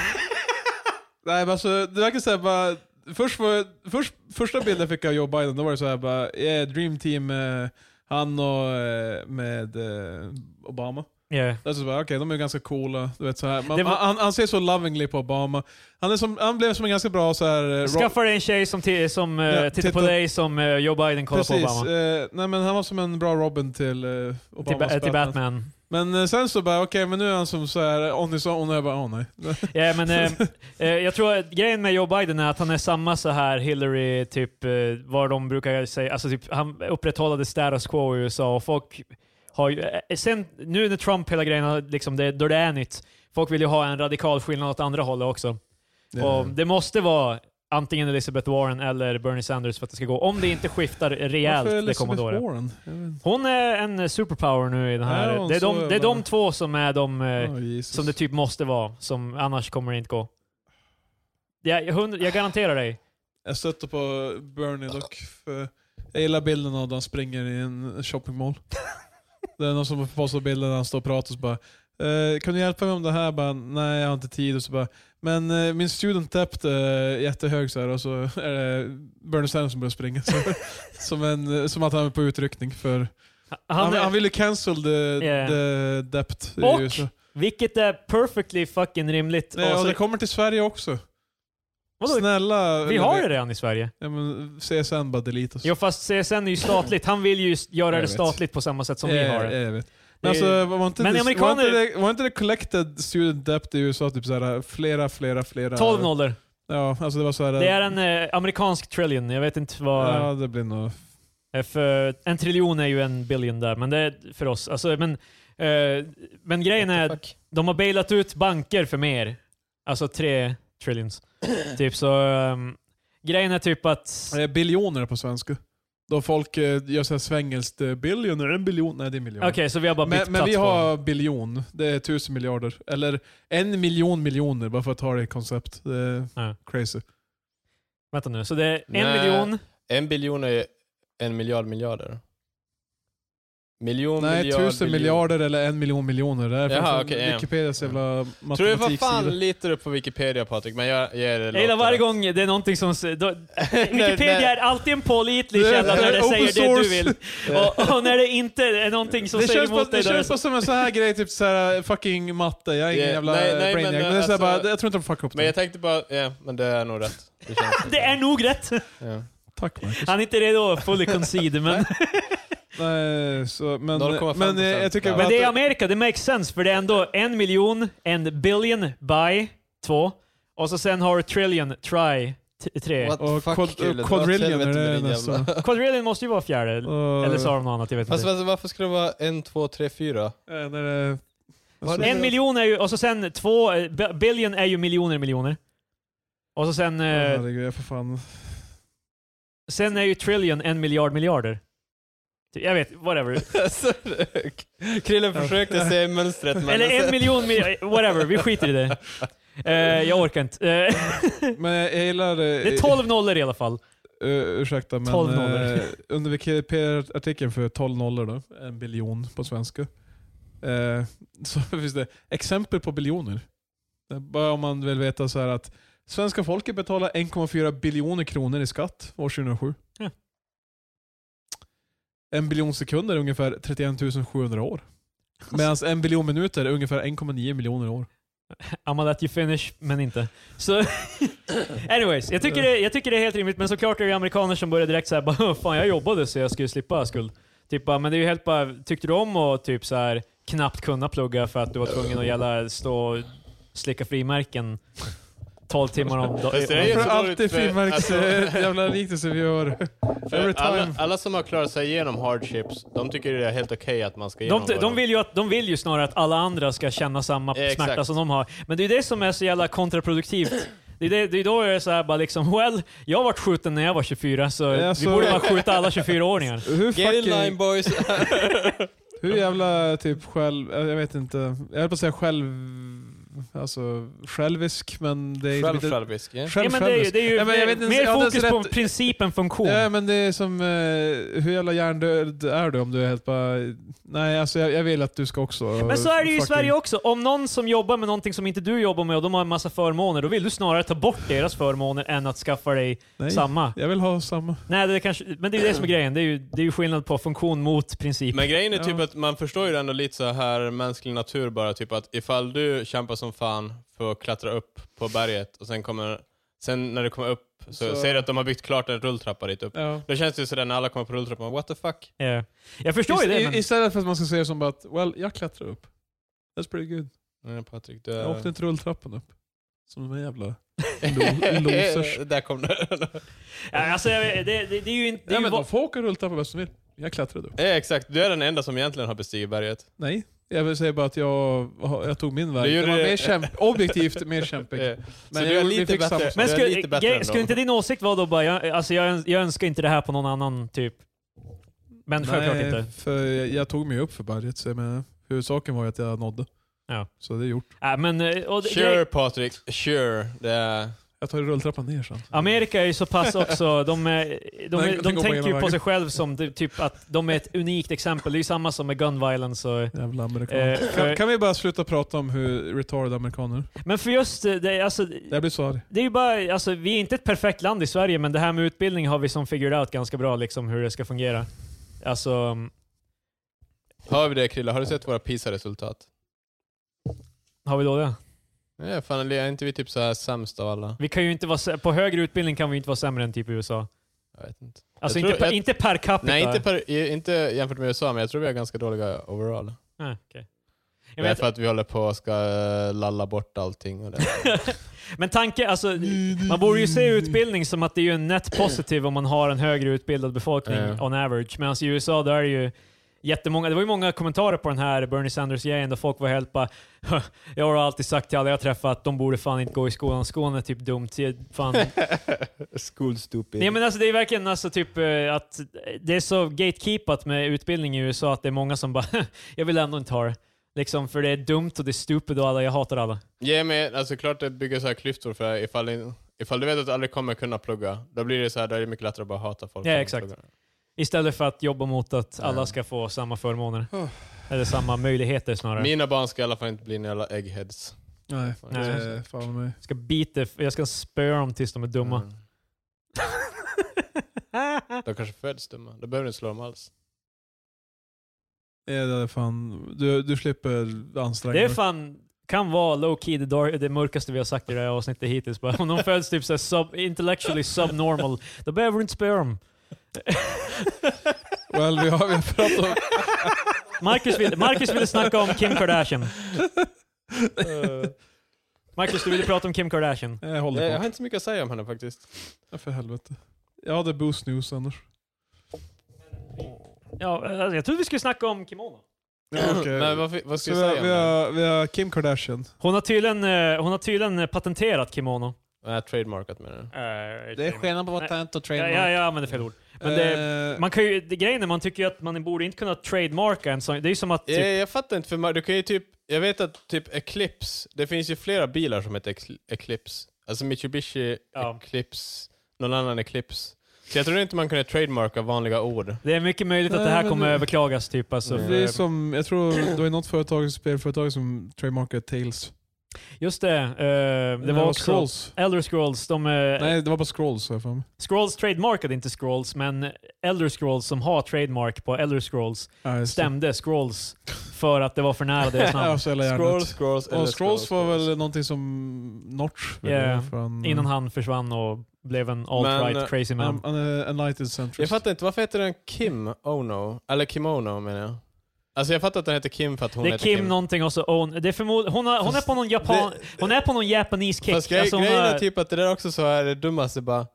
B: men alltså, det verkar såhär bara... Först var, först, första bilden jag fick av Joe Biden, då var det såhär bara, yeah, dream team, eh, han och eh, med eh, Obama.
A: yeah.
B: Det är så bara, okej, de är ganska coola. Du vet, så här. Man,
A: Det var-
B: han, han ser så lovingly på Obama. Han, är som, han blev som en ganska bra så här, eh, ro-
A: Skaffa dig en tjej som, ti- som eh,
B: Ja,
A: tittar på
B: titta.
A: dig som eh, Joe Biden kollar
B: Precis.
A: på Obama.
B: eh, nej, men han var som en bra Robin till eh,
A: Till,
B: Obamas
A: ba- till
B: Batman.
A: Batman.
B: Men eh, sen så bara, okej, men nu är han som så här on his own. Och jag bara, åh nej.
A: Ja, men, eh, eh, jag tror att grejen med Joe Biden är att han är samma så här Hillary, typ eh, vad de brukar säga, alltså typ, han upprätthållade status quo i USA och folk har ju, eh, sen, nu när Trump hela grejen, har liksom, det, då det är nytt, folk vill ju ha en radikal skillnad åt andra hållet också. Och det måste vara antingen Elizabeth Warren eller Bernie Sanders för att det ska gå, om det inte skiftar rejält
B: Varför liksom
A: det kommande
B: Elizabeth
A: året.
B: Warren? Jag vet inte.
A: Hon är en superpower nu i den här.
B: Ja, hon
A: det, är
B: så
A: de,
B: är
A: det är
B: bara-
A: de två som är de... Eh,
B: Åh, Jesus.
A: som det typ måste vara, som annars kommer det inte gå. Jag, jag, hund- jag garanterar dig.
B: Jag stötte på Bernie dock. För jag gillar bilden av när han springer i en shoppingmall. det är någon som postar bilden när han står och pratar och så bara eh, kan du hjälpa mig om det här? Bara, Nej, jag har inte tid. Och så bara, Men eh, min student debt är jättehög så här, och så är det Bernie Sanders som börjar springa. Så, som, en, som att han är på utryckning. För, han, han,
A: är,
B: vill ju cancel the,
A: Yeah.
B: the debt. i
A: Och-
B: USA.
A: vilket är perfectly fucking rimligt.
B: Nej, och
A: Alltså,
B: det kommer till Sverige också.
A: vadå?
B: Snälla.
A: vi har det redan i Sverige.
B: Ja, men CSN bara deletas.
A: Jo, fast CSN är ju statligt. Han vill ju s- göra
B: Jag
A: det
B: vet. Eh,
A: statligt på samma sätt som
B: Ja,
A: vi har
B: ja,
A: det.
B: jag vet.
A: Det
B: Men,
A: är-
B: alltså, var, inte
A: Men
B: det,
A: amerikaner-
B: var, inte det, var inte det collected student debt i USA typ såhär, flera, flera, flera...
A: 12 nollor.
B: Ja, alltså det var såhär...
A: Det är en eh, amerikansk trillion. Jag vet inte vad...
B: Ja, det blir nog...
A: Eh, För en triljon är ju en billion där, men det är för oss. Alltså, men, eh, men grejen är att de har bailat ut banker för mer. Alltså tre trillions. typ så... ehm, grejen är typ att...
B: Eh, Biljoner på svenska. Då folk eh, gör såhär svengelskt, eh, biljoner, en biljon, nej det är miljoner.
A: Okej, så vi har bara bytt
B: men, men
A: plats
B: vi
A: på dem.
B: har biljon, det är tusen miljarder. Eller en miljon miljoner, bara för att ha det i koncept. Det är
A: Ja.
B: crazy.
A: Vänta nu, så det är en
C: Nej.
A: miljon.
C: En biljon är en miljard miljarder. Miljon,
B: Nej,
C: miljard,
B: tusen
C: miljon.
B: miljarder eller en miljon miljoner. Det är
C: Jaha,
B: från
C: okej, ja.
B: Wikipedias jävla
C: Tror du vad
B: matematiksida.
C: fan litar du på Wikipedia Patrik? Men jag ger det
A: Jag gillar varje gång det är någonting som... s- Då,
C: nej.
A: Wikipedia är alltid en pålitlig
B: Det är-
A: källa när
B: det är
A: det säger
B: open
A: det du
B: source.
A: vill. Och, och när det inte är någonting som
B: Det
A: säger
B: känns, bara,
A: emot dig.
B: det
A: då är
B: känns bara som en sån här grej, typ så här fucking matte. Jag är ingen
C: Det-
B: jävla
C: nej, nej,
B: brainiac. Men,
C: men,
B: det är så här
C: alltså-
B: bara, jag tror inte de fuckar upp
C: Men
B: det.
C: jag tänkte bara, ja, men det är nog rätt. Det,
A: det-
C: känns
A: det är nog rätt.
C: ja.
B: Tack Marcus.
A: Han är inte redo att fully concede, men,
B: Nej, så, men,
C: 0,5%.
B: men eh, jag tycker
C: Men
B: bara
A: men det är
B: att,
A: Amerika, det makes sense. För det är ändå en miljon, en billion by två. Och så sen har du trillion, try, t- tre.
D: What
B: Och
D: fuck,
B: quad-
D: Kulen? Dra åt
B: quadrillion
D: helvete
B: är
D: med
B: det
D: din jävla-
B: nästa.
A: Quadrillion måste ju vara fjärde.
B: Och-
A: Eller sa de något annat? Jag vet
C: Fast
A: inte.
C: alltså, varför skulle det vara en, två, tre, fyra?
B: Eh, när det- alltså,
A: En miljon är ju, och så sen två, eh, bi- billion är ju miljoner miljoner. Och så sen,
B: Åh,
A: eh,
B: Herregud, jag får fan...
A: sen är ju trillion en miljard miljarder. Typ, Jag vet, whatever.
C: Alltså, Krille försökte se mönstret men...
A: Eller en miljon, mil- eh, whatever, vi skiter i det. Eh, jag orkar inte. Eh,
B: Men jag jag gillar...
A: det är 12 nollor i alla fall.
B: Eh, ursäkta, men
A: 12 nollor.
B: eh, under Wikipedia-artikeln för 12 nollor då, en biljon på svenska, eh, så finns det exempel på biljoner. Det är Bara om man vill veta så här att svenska folket betalar 1,4 biljoner kronor i skatt år 2007.
A: Ja.
B: En biljon sekunder är ungefär 31 700 år. Medan en biljon minuter är ungefär 1,9 miljoner år.
A: I'ma let you finish, men inte. Så anyways, jag tycker, det, jag tycker det är helt rimligt, men såklart är det amerikaner som börjar direkt såhär bara fan jag jobbade så jag skulle slippa skuld. Typ bara, men det är ju helt bara, tyckte du om att typ så här, knappt kunna plugga för att du var tvungen att gälla stå och slicka frimärken 12 timmar om
C: Fast det är ju-
A: dagen?
B: För
C: så
B: alltid
C: roligt, för-
B: frimärks...
C: alltså-
B: eh, jävla liknelse vi gör. Every
C: För alla,
B: time.
C: alla som har klarat sig igenom hardships, de tycker det är helt okej att man ska
A: De,
C: genomgå
A: de, vill ju att, de vill ju snarare att alla andra ska känna samma
C: Eh, exakt.
A: smärta som de har. Men det är ju det som är så jävla kontraproduktivt. Det är, det, det är då jag är såhär bara liksom, well, jag vart skjuten när jag var 24 så
B: Ja,
A: vi
B: så-
A: borde bara skjuta alla 24-åringar.
B: Hur
C: Get in
B: fucking...
C: line boys!
B: Hur jävla typ själv... eh, Jag vet inte. Jag höll på att säga själv... Alltså självisk, men det är inte-
C: Själv självisk, ja.
A: Ja,
B: Själv,
A: men det är ju,
B: självisk.
A: det är ju
B: Ja, men jag
A: mer,
B: vet inte,
A: mer
B: ja, det är
A: fokus
B: så
A: på
B: rätt-
A: princip än funktion.
B: Ja, men det är som... Eh, hur jävla hjärndöd är du om du är helt bara... Nej, alltså jag, jag vill att du ska också...
A: men så är det ju i Sverige också. Om någon som jobbar med någonting som inte du jobbar med och de har en massa förmåner, då vill du snarare ta bort deras förmåner än att skaffa dig
B: Nej,
A: samma.
B: jag vill ha samma.
A: Nej, det är kanske, men det är ju det som är grejen. Det är ju, det är ju skillnad på funktion mot princip.
C: Men grejen är
B: Ja.
C: typ att man förstår ju ändå lite så här mänsklig natur bara, typ att ifall du kämpar som fan för att klättra upp på berget och sen kommer, sen när du kommer upp så,
B: Så-
C: ser du att de har byggt klart en rulltrappa dit upp.
B: Ja.
C: Då känns det ju sådär när alla kommer på rulltrappan, what the fuck?
A: Ja. Eh, Jag förstår ju det,
B: I-
A: men,
B: Istället för att man ska säga som bara att well, jag klättrar upp. That's pretty good.
C: Nej Patrik, du
B: Jag åkte
C: är...
B: inte rulltrappan upp. Som de här jävla lo- losers.
C: Där kom det.
A: ja, alltså, jag- det, det, det är ju inte... Det är
B: Ja,
A: ju
B: men
A: va-
B: de får åka rulltrappa bäst de vill. Jag klättrade upp.
C: Ja, exakt, du är den enda som egentligen har bestigit berget.
B: Nej, jag vill säga bara att jag, jag tog min väg.
C: Du
B: Det
C: gjorde
B: var
C: det-
B: mer kämp, Eh, objektivt mer
C: Ja.
B: kämpig.
C: Eh, Så
B: jag-
C: du
B: vi
C: är lite
B: fick
C: bättre,
B: samma-
A: men
C: du är
A: skulle,
C: lite bättre
A: ge-
C: än
A: skulle
C: dem.
A: inte din åsikt vara då bara, jag, alltså, jag, öns- jag önskar inte det här på någon annan, typ? Men självklart
B: Nej,
A: inte.
B: För jag, jag tog mig upp för berget, så jag menar, huvudsaken var ju att jag nådde.
A: Ja.
B: Så det är gjort.
A: Äh, men, eh, och det,
C: Sure Patrik, sure. Det är...
B: Jag tar rulltrappan ner sen.
A: Ah. Amerika är ju så pass också, de, är, de,
B: Nej,
A: är,
B: jag
A: de
B: går
A: tänker
B: hela
A: ju på
B: vägen.
A: sig själv som ty- typ att de är ett unikt exempel. Det är ju samma som med gun violence. Och,
B: Jävla
A: eh,
B: amerikaner.
A: för,
B: Kan, kan vi bara sluta prata om hur retarded amerikaner är?
A: men för just eh, det, alltså,
B: Jag blir så arg.
A: det är ju bara, alltså, vi är inte ett perfekt land i Sverige, men det här med utbildning har vi som figured out ganska bra, liksom hur det ska fungera. Alltså, mm,
C: Hör vi det Krilla? Har du sett våra PISA-resultat?
A: har vi då det?
C: Ja, fan, är inte vi typ så här sämst av alla?
A: Vi kan ju inte vara, sä- på högre utbildning kan vi ju inte vara sämre än typ USA.
C: Jag vet inte.
A: Alltså
C: Jag tror-
A: inte, per,
C: jag-
A: inte per capita.
C: Nej, inte, per, i- inte jämfört med USA, men jag tror vi är ganska dåliga overall.
A: Ah, okej.
C: Det
A: Jag
C: är
A: vet,
C: för att vi håller på och ska eh, lalla bort allting. Och det.
A: men tanke, alltså, Man borde ju se utbildning som att det är ju en net positiv om man har en högre utbildad befolkning
C: Ja.
A: on average. Men alltså i USA där är det ju jättemånga, det var ju många kommentarer på den här Bernie Sanders-grejen där folk var helt bara "Huh, Jag har alltid sagt till alla jag träffat att de borde fan inte gå i skolan, skolan är typ dumt. Det är Fan.
C: School stupid.
A: Nej men alltså det är verkligen alltså typ eh, att det är så gatekeepat med utbildning i USA att det är många som bara Jag vill ändå inte ha det. Liksom för det är dumt och det är stupid och alla, jag hatar alla.
C: Ja, men alltså klart det bygger så här klyftor för ifall, ifall du vet att du aldrig kommer kunna plugga, då blir det så här, då är det mycket lättare att bara hata folk.
A: Ja,
C: som
A: exakt.
C: pluggar.
A: Istället för att jobba mot att alla
C: Mm.
A: ska få samma förmåner.
B: Oh.
A: Eller Ah. samma möjligheter snarare.
C: Mina barn ska i alla fall inte bli några jävla eggheads.
B: Nej,
A: Nej.
B: det är fan mig.
A: Jag ska bita, jag ska spöa dem tills de är dumma.
C: Mm. De kanske föds dumma. Då behöver du inte slå dem alls.
B: Ja, Eh, det är fan. Du, du slipper anstränga
A: Det är
B: dig.
A: fan, kan vara low key det, dar- det mörkaste vi har sagt i det här avsnittet hittills. Bara, om de föds typ så här sub, intellectually subnormal, då behöver du inte spöa dem.
B: Well, vi har, vi har pratat om...
A: Marcus, vill, Marcus ville snacka om Kim Kardashian.
B: Eh.
A: Marcus, du ville prata om Kim Kardashian.
B: Nej, Jag
C: Jag,
B: håller
C: jag har
B: på.
C: inte så mycket att säga om henne faktiskt.
B: Ja, för helvete. Jag hade Boost News annars.
A: Ja, alltså, jag trodde vi skulle snacka om Kimono.
B: Ja, okej.
C: Men vad, fi- vad
B: Så
C: ska
B: vi,
C: jag
B: har,
C: säga
B: vi,
C: om henne?
B: har, vi har Kim Kardashian.
A: Hon har tydligen, eh, hon har tydligen eh, patenterat Kimono.
C: Nej, trademarkat menar du?
A: Eh,
B: skillnad på
A: vara Nej.
B: patent och
A: ja, ja, jag använder fel ord. Men det,
C: Eh,
A: man kan ju, det, grejen är, man tycker ju att man borde inte kunna trademarka en sån. Det är ju som att... Typ,
C: Jag, Eh,
B: Eh.
C: jag fattar inte, för man, du kan ju typ, jag vet att typ Eclipse, det finns ju flera bilar som heter Ex- Eclipse. Alltså Mitsubishi
A: Ja.
C: Eclipse, någon annan Eclipse. Så jag tror inte man kunde trademarka vanliga ord.
A: Det är mycket möjligt att det
B: Nej,
A: här
B: men
A: kommer
B: det-
A: överklagas typ. Alltså,
C: Nej.
A: för-
B: det är som, jag tror det är något företag, spelföretag som trademarkar Tales.
A: Just det. eh, det
B: Nej,
A: var också...
B: Scrolls.
A: Elder Scrolls, de... eh,
B: Nej, det var bara Scrolls har jag för mig.
A: Scrolls trademarkade inte Scrolls, men Elder Scrolls som har trademark på Elder Scrolls
B: Ja, just det.
A: stämde Scrolls för att det var för nära deras namn.
B: Ja, så jävla hjärndött.
C: Scrolls, scrolls, eller
B: Och Scrolls var
C: scrolls.
B: väl någonting som Notch ville
A: Ja,
B: ha från...
A: Innan han försvann och blev en
C: Men, eh,
A: alt-right crazy man.
B: Mm. Han, han är eh, Enlightened Centrist.
C: Jag fattar inte, varför heter den Kim Ono? Eller Kimono menar jag. Alltså jag fattar att den heter Kim för att hon
A: det är
C: heter
A: Kim, någonting och så Own. Det är förmod- hon, har, hon är på någon japan... hon är på någon japanese kick.
C: Fast grej,
A: Alltså, hon
C: grejen
A: har-
C: är typ att det där också så är det dummaste bara,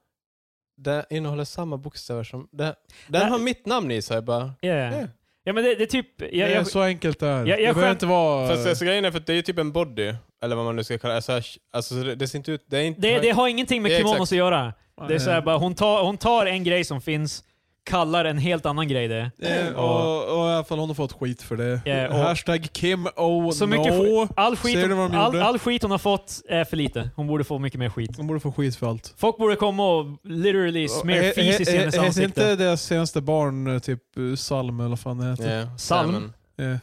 C: det innehåller samma bokstäver som, det, den
A: Nej.
C: har mitt namn i sig bara.
A: yeah.
C: Ja.
A: Ja men det, det är typ... Jag,
B: det är
A: jag,
B: så enkelt det är.
A: Jag- jag
B: det behöver
A: skämt-
B: inte vara...
C: Fast alltså, grejen är för att det är ju typ en body, eller vad man nu ska kalla det. Alltså, alltså det, det ser inte ut... Det är inte...
A: det, det har ingenting med
C: Ja, exakt.
A: kimonos att göra. Det är
B: Eh,
A: så här, bara, hon, tar, hon tar en grej som finns, kallar en helt annan grej det.
B: eh, och, och i alla fall hon har fått skit för det.
A: Ja, och-
B: Hashtag Kim Oh
A: Så
B: no.
A: mycket sk- all,
B: Ser
A: skit
B: du vad
A: hon,
B: de
A: all,
B: gjorde?
A: all skit hon har fått är för lite. Hon borde få mycket mer skit.
B: Hon borde få skit för allt.
A: Folk borde komma och literally smear
B: Eh,
A: fis
B: eh,
A: i
B: eh,
A: hennes
B: heter
A: ansikte.
B: inte deras senaste barn eh, typ eh, Salm eller vad fan det heter?
C: Ja,
A: Salm.
C: Salmon.
B: Yeah.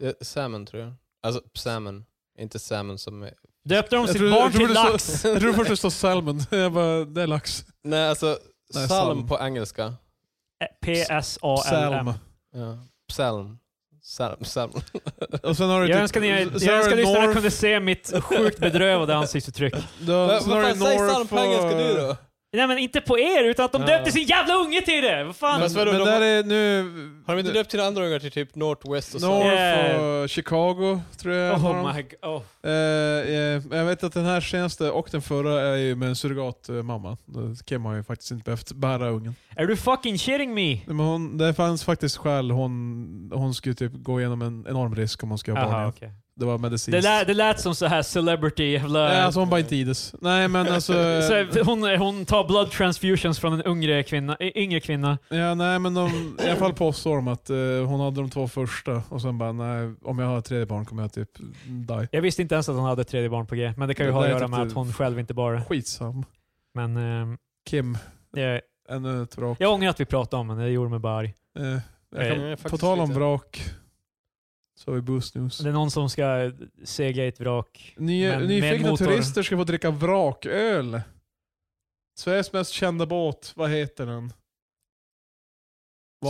C: Ja, salmon tror jag. Alltså salmon. Inte salmon som är...
A: Döpte de
B: Jag
A: sitt
B: trodde-
A: barn
B: jag trodde
A: till
B: så-
A: lax?
B: Jag trodde först det stod Salmon. Jag bara, det är lax.
C: Nej, alltså
B: Nej,
C: salm,
B: salm.
C: på engelska.
A: Eh, P-S-A-L-M.
B: Salm.
C: Ja. Psalm. Salm. Salm.
B: Och sen har du
A: Jag
B: typ-
A: önskar ni,
B: sen
A: jag
B: har
A: önskar
B: du
A: lyssnarna
B: North-
A: kunde se mitt sjukt bedrövade ansiktsuttryck.
B: Då,
C: Men
B: sen har
C: vad
B: du
C: fan, säg salm
B: North
C: på engelska
B: och-
C: du då?
A: Nej men inte på er, utan att de
C: Ja.
A: döpte sin jävla unge till det! Vad fan?
C: Fast
B: Men,
C: vadå,
B: men
C: de-
B: där är nu...
C: Har de inte döpt till andra ungar till typ Northwest och
B: North
C: South?
B: och Chicago, tror jag. har de.
A: Oh my god. Oh.
B: Eh, eh, jag vet att den här senaste och den förra är ju med en surrogatmamma. Då Kim har ju faktiskt inte behövt bära ungen.
A: Är du fucking shitting me?
B: Men hon, det fanns faktiskt skäl. Hon, hon skulle typ gå igenom en enorm risk om hon skulle ha barn
A: Aha,
B: igen.
A: okay.
B: Det var medicinskt.
A: det, lät, det lät som så här celebrity jävla...
B: Nej, alltså hon bara inte i det. Nej men alltså...
A: Så här, hon, hon tar blood transfusions från en yngre kvinna. y- Yngre kvinna.
B: ja, nej men de, i alla fall påstår de att eh, hon hade de två första och sen bara nej, om jag har ett tredje barn kommer jag typ die.
A: Jag visste inte ens att hon hade ett tredje barn på G, men det kan ju
B: Det
A: ha att
B: där är
A: göra
B: typ
A: med
B: det-
A: att hon själv inte bara...
B: Skitsam.
A: Men ehm,
B: Kim,
A: jag,
B: ännu ett vrak.
A: jag ångrar att vi pratade om henne, det gjorde mig bara arg.
B: Eh, jag kan,
A: Eh,
B: på tal om vrak så har vi Boost News.
A: Det är någon som ska sega i ett vrak.
B: Ny,
A: Men med
B: nyfikna
A: motor.
B: turister ska få dricka vraköl. Sveriges mest kända båt, vad heter den?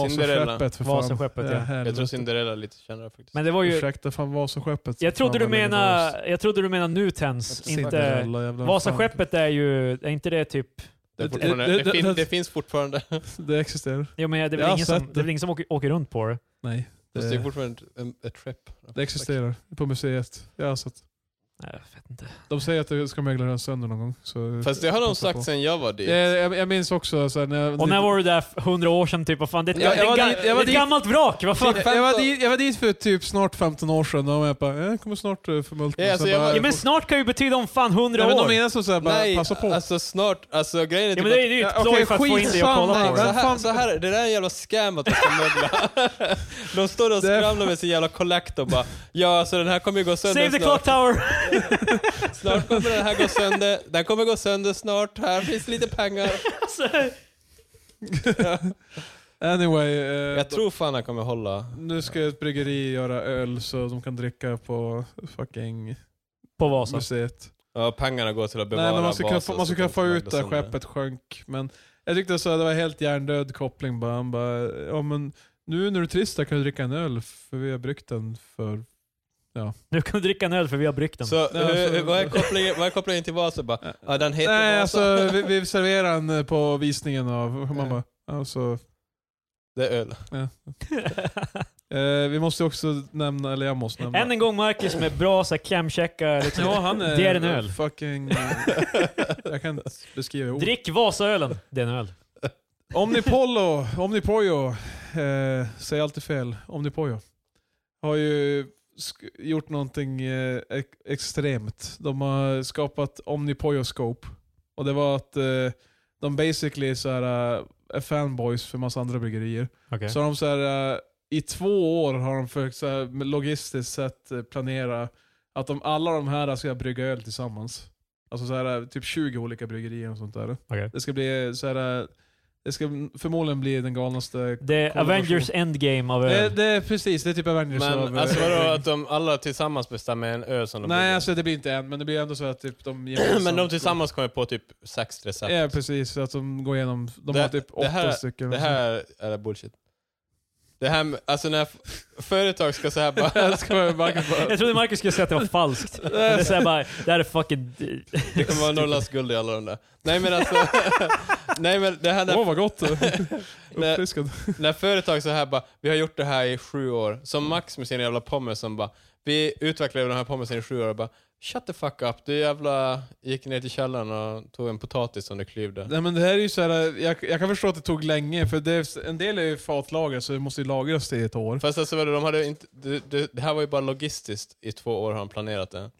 C: Cinderella.
B: Vasaskeppet för fan.
A: Vasaskeppet, ja.
B: helvete.
C: Jag tror Cinderella är lite kändare faktiskt.
A: Men det var ju...
B: Ursäkta, fan Vasaskeppet.
A: Jag trodde
B: Fan,
A: du
B: vad legendariskt.
A: menar, jag trodde du menar Nutens, inte...
B: Cinderella, jävlar,
A: Vasaskeppet är ju... Är inte det typ...
C: det, är
B: det-
C: fortfarande-
B: det-
C: det,
B: det-
C: fin,
B: det-
C: det finns fortfarande.
B: fan. Det existerar.
A: Jo, men det är
B: Jag
A: väl
B: har
A: ingen som,
B: sett
A: det är
B: det.
A: väl ingen som åker, åker runt på det?
B: Nej.
C: Fast det är
B: Det,
C: fortfarande en, en trip.
B: det existerar. På museet. Jag har sett.
A: Nej, jag vet inte.
B: De säger att det ska mögla den sönder någon gång. Så
C: Fast det har de
B: Hoppa
C: sagt
B: på.
C: sen jag var dit.
B: jag, jag, jag minns också så här, när jag,
A: Och när var du där? f- 100 år sedan typ? Vad fan? Det är ett,
B: Jag-
A: det är
B: jag
A: ett,
B: var dit-
A: ga-
B: jag var
A: ett
B: dit-
A: gammalt vrak! Vad fan?
B: jag, jag, var dit, jag var dit för typ snart 15 år sedan och jag bara, jag kommer snart eh, förmultna.
C: Ja, alltså,
B: Sen
C: jag
B: bara-
C: var-
A: Ja, men snart kan ju betyda om fan 100
B: Nej, men
A: år!
B: de menar som såhär, bara
C: Nej,
B: passa på.
C: alltså snart, alltså grejen är
A: Ja,
C: typ
A: men det är ju
B: Ja,
A: ett
B: okej,
A: ploj för att få in dig och
B: skitsamma.
A: kolla på
C: Så
A: det.
B: Vem
C: här,
B: fan-
C: så här, det där är en jävla scam att de ska mögla. De står där och
B: Det är-
C: skramlar med sin jävla collect och bara Ja, alltså den här kommer ju gå sönder
A: Save the clock
C: snart.
A: tower!
C: Snart kommer den här gå sönder. Den kommer gå sönder snart. Här finns lite pengar.
A: Alltså,
B: Eh, Anyway. eh,
C: Jag tror fan jag kommer hålla.
B: Nu ska ett bryggeri göra öl så de kan dricka på fucking
A: På Vasa.
B: museet.
C: Ja, pengarna går till att bevara
B: Nej, men man ska kunna,
C: basen
B: få- man ska
C: så
B: kunna
C: de
B: få
C: inte
B: ut det här
C: sönder.
B: skeppet sjönk. Men jag tyckte så här, det var helt hjärndöd koppling bara. Han bara, ja men nu när du är trist där kan du dricka en öl för vi har bryggt den för...
A: Nu kan du dricka en öl för vi har bryggt den.
C: Så hur,
B: alltså-
C: hur, vad, är kopplingen, vad är kopplingen till Vasa? Bara, ja, den heter
B: Nej
C: Vasa.
B: alltså vi, vi serverar den eh, på visningen av... och Man bara, alltså,
C: Det är öl.
B: eh, vi måste ju också nämna, eller jag måste nämna.
A: Än en gång Marcus med bra så här klämkäcka... Liksom.
B: Ja, han är,
A: Det är en öl.
B: Fucking, eh, jag kan inte beskriva i ord.
A: Drick Vasaölen. Det är en öl.
B: Omnipollo, Omnipojo, eh, säger alltid fel, Omnipojo, har ju sk- gjort någonting eh, ex- extremt. De har skapat Omnipojoscope. Och det var att eh, de basically så här, eh, är fanboys för massa andra bryggerier.
A: Okej.
B: Så har de så här, eh, i två år har de försökt så här, med logistiskt sett eh, planera att de, alla de här ska brygga öl tillsammans. Alltså så här, eh, typ 20 olika bryggerier och sånt där.
A: okej.
B: Det ska bli så här. eh, Det ska förmodligen bli den galnaste...
A: Det är
B: Kollaboration.
A: Avengers Endgame av
B: Eh, Det,
A: öl.
B: det är precis, det är typ Avengers
C: Men
B: av...
C: alltså vadå att de alla tillsammans bestämmer en ö som de
B: Nej,
C: brygger?
B: alltså det blir inte en, men det blir ändå så att typ de gemensamt-
C: Men de tillsammans kommer på typ sex recept.
B: Ja, precis. så Att de går igenom... De
C: Det-
B: har typ
C: det
B: åtta
C: här-
B: stycken.
C: Det här är bullshit. Det här med- alltså när f- företag ska så här bara...
B: Jag ska bara- bara-
A: Jag trodde Marcus skulle säga att det var falskt. Men det är såhär bara, det här är fucking...
C: Det kommer vara Norrlands guld i alla de där. Nej men alltså... nej men det här när,
B: Åh, vad gott!
C: när,
B: Uppfriskad.
C: när företag så här bara, vi har gjort det här i sju år. Som Max med sin jävla pommes som bara, vi utvecklade den här pommesen i sju år och bara, shut the fuck up. Du jävla gick ner till källaren och tog en potatis som du klyvde.
B: Nej men det här är ju så här, jag, jag kan förstå att det tog länge, för det är, en del är ju fatlager så det måste ju lagras i ett år.
C: Fast alltså vadå, de hade inte, det, det, det här var ju bara logistiskt i två år har de planerat det.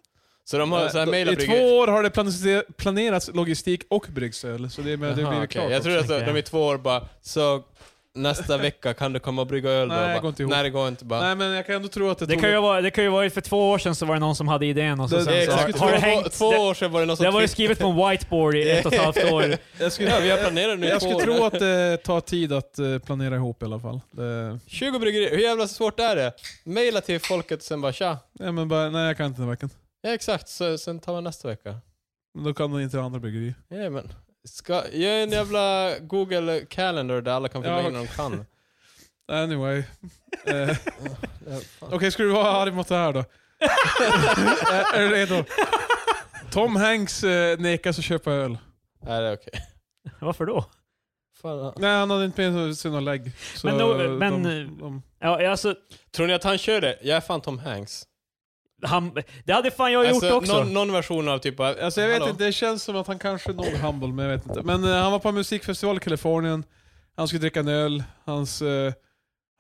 C: Så de har så här mejlat
B: Eh, I två år har det planiser- planerats logistik och bryggsöl, så det, är med, det
C: Jaha,
B: blir
C: okej.
B: klart.
C: Jag tror att
A: också,
C: de
A: tänker
C: de i
A: jag.
C: två år bara, så nästa vecka kan du komma och brygga öl då?
B: Nej,
C: Och bara,
B: det går inte ihop.
C: Nej, det går inte. Bara,
B: Nej men jag kan ändå tro att det,
A: Det
B: tog
A: kan ju vara, det kan ju vara för två år sedan så var det någon som hade idén och så
B: Det-
A: sen
C: det är
A: så har,
C: exakt.
A: har det
C: två,
A: hängt...
C: två
A: Det,
C: år sedan var det någon som
A: det har varit
C: twitt-
A: skrivet på en whiteboard i ett och ett halvt år.
B: Jag skulle,
C: Ja, vi har planerat nu i
B: jag
C: två
B: skulle
C: år.
B: tro att det tar tid att eh, planera ihop i alla fall. Det,
C: 20 bryggerier, hur jävla svårt är det? Maila till folket och sen bara tja.
B: nej, men bara, nej, jag kan inte den här veckan.
C: Ja exakt, så, sen tar man nästa vecka.
B: Men Då kan det inte andra bryggerier.
C: Ja, men. Ska, gör en jävla Google calendar där alla kan fylla
B: Ja,
C: in de kan.
B: Anyway. Eh, Okej,
C: Ja, fan.
B: ska du vara arg mot det här då? Eh, är du redo? Tom Hanks eh, nekas att köpa öl.
C: Nej, det är okej.
A: Varför då?
C: Fan, ja.
B: Nej, han hade inte med sig några lägg. Så
A: Men då- men- eh,
B: de, de,
A: Ja, alltså,
C: Tror ni att han kör det? Jag är fan Tom Hanks.
A: han, det hade fan jag gjort
C: Alltså,
A: också.
C: Någon, någon version av typ... bara,
B: Alltså jag vet
C: hallå?
B: inte, det känns som att han kanske någ humble, men jag vet inte. Men eh, han var på en musikfestival i Kalifornien, han skulle dricka en öl, hans, eh,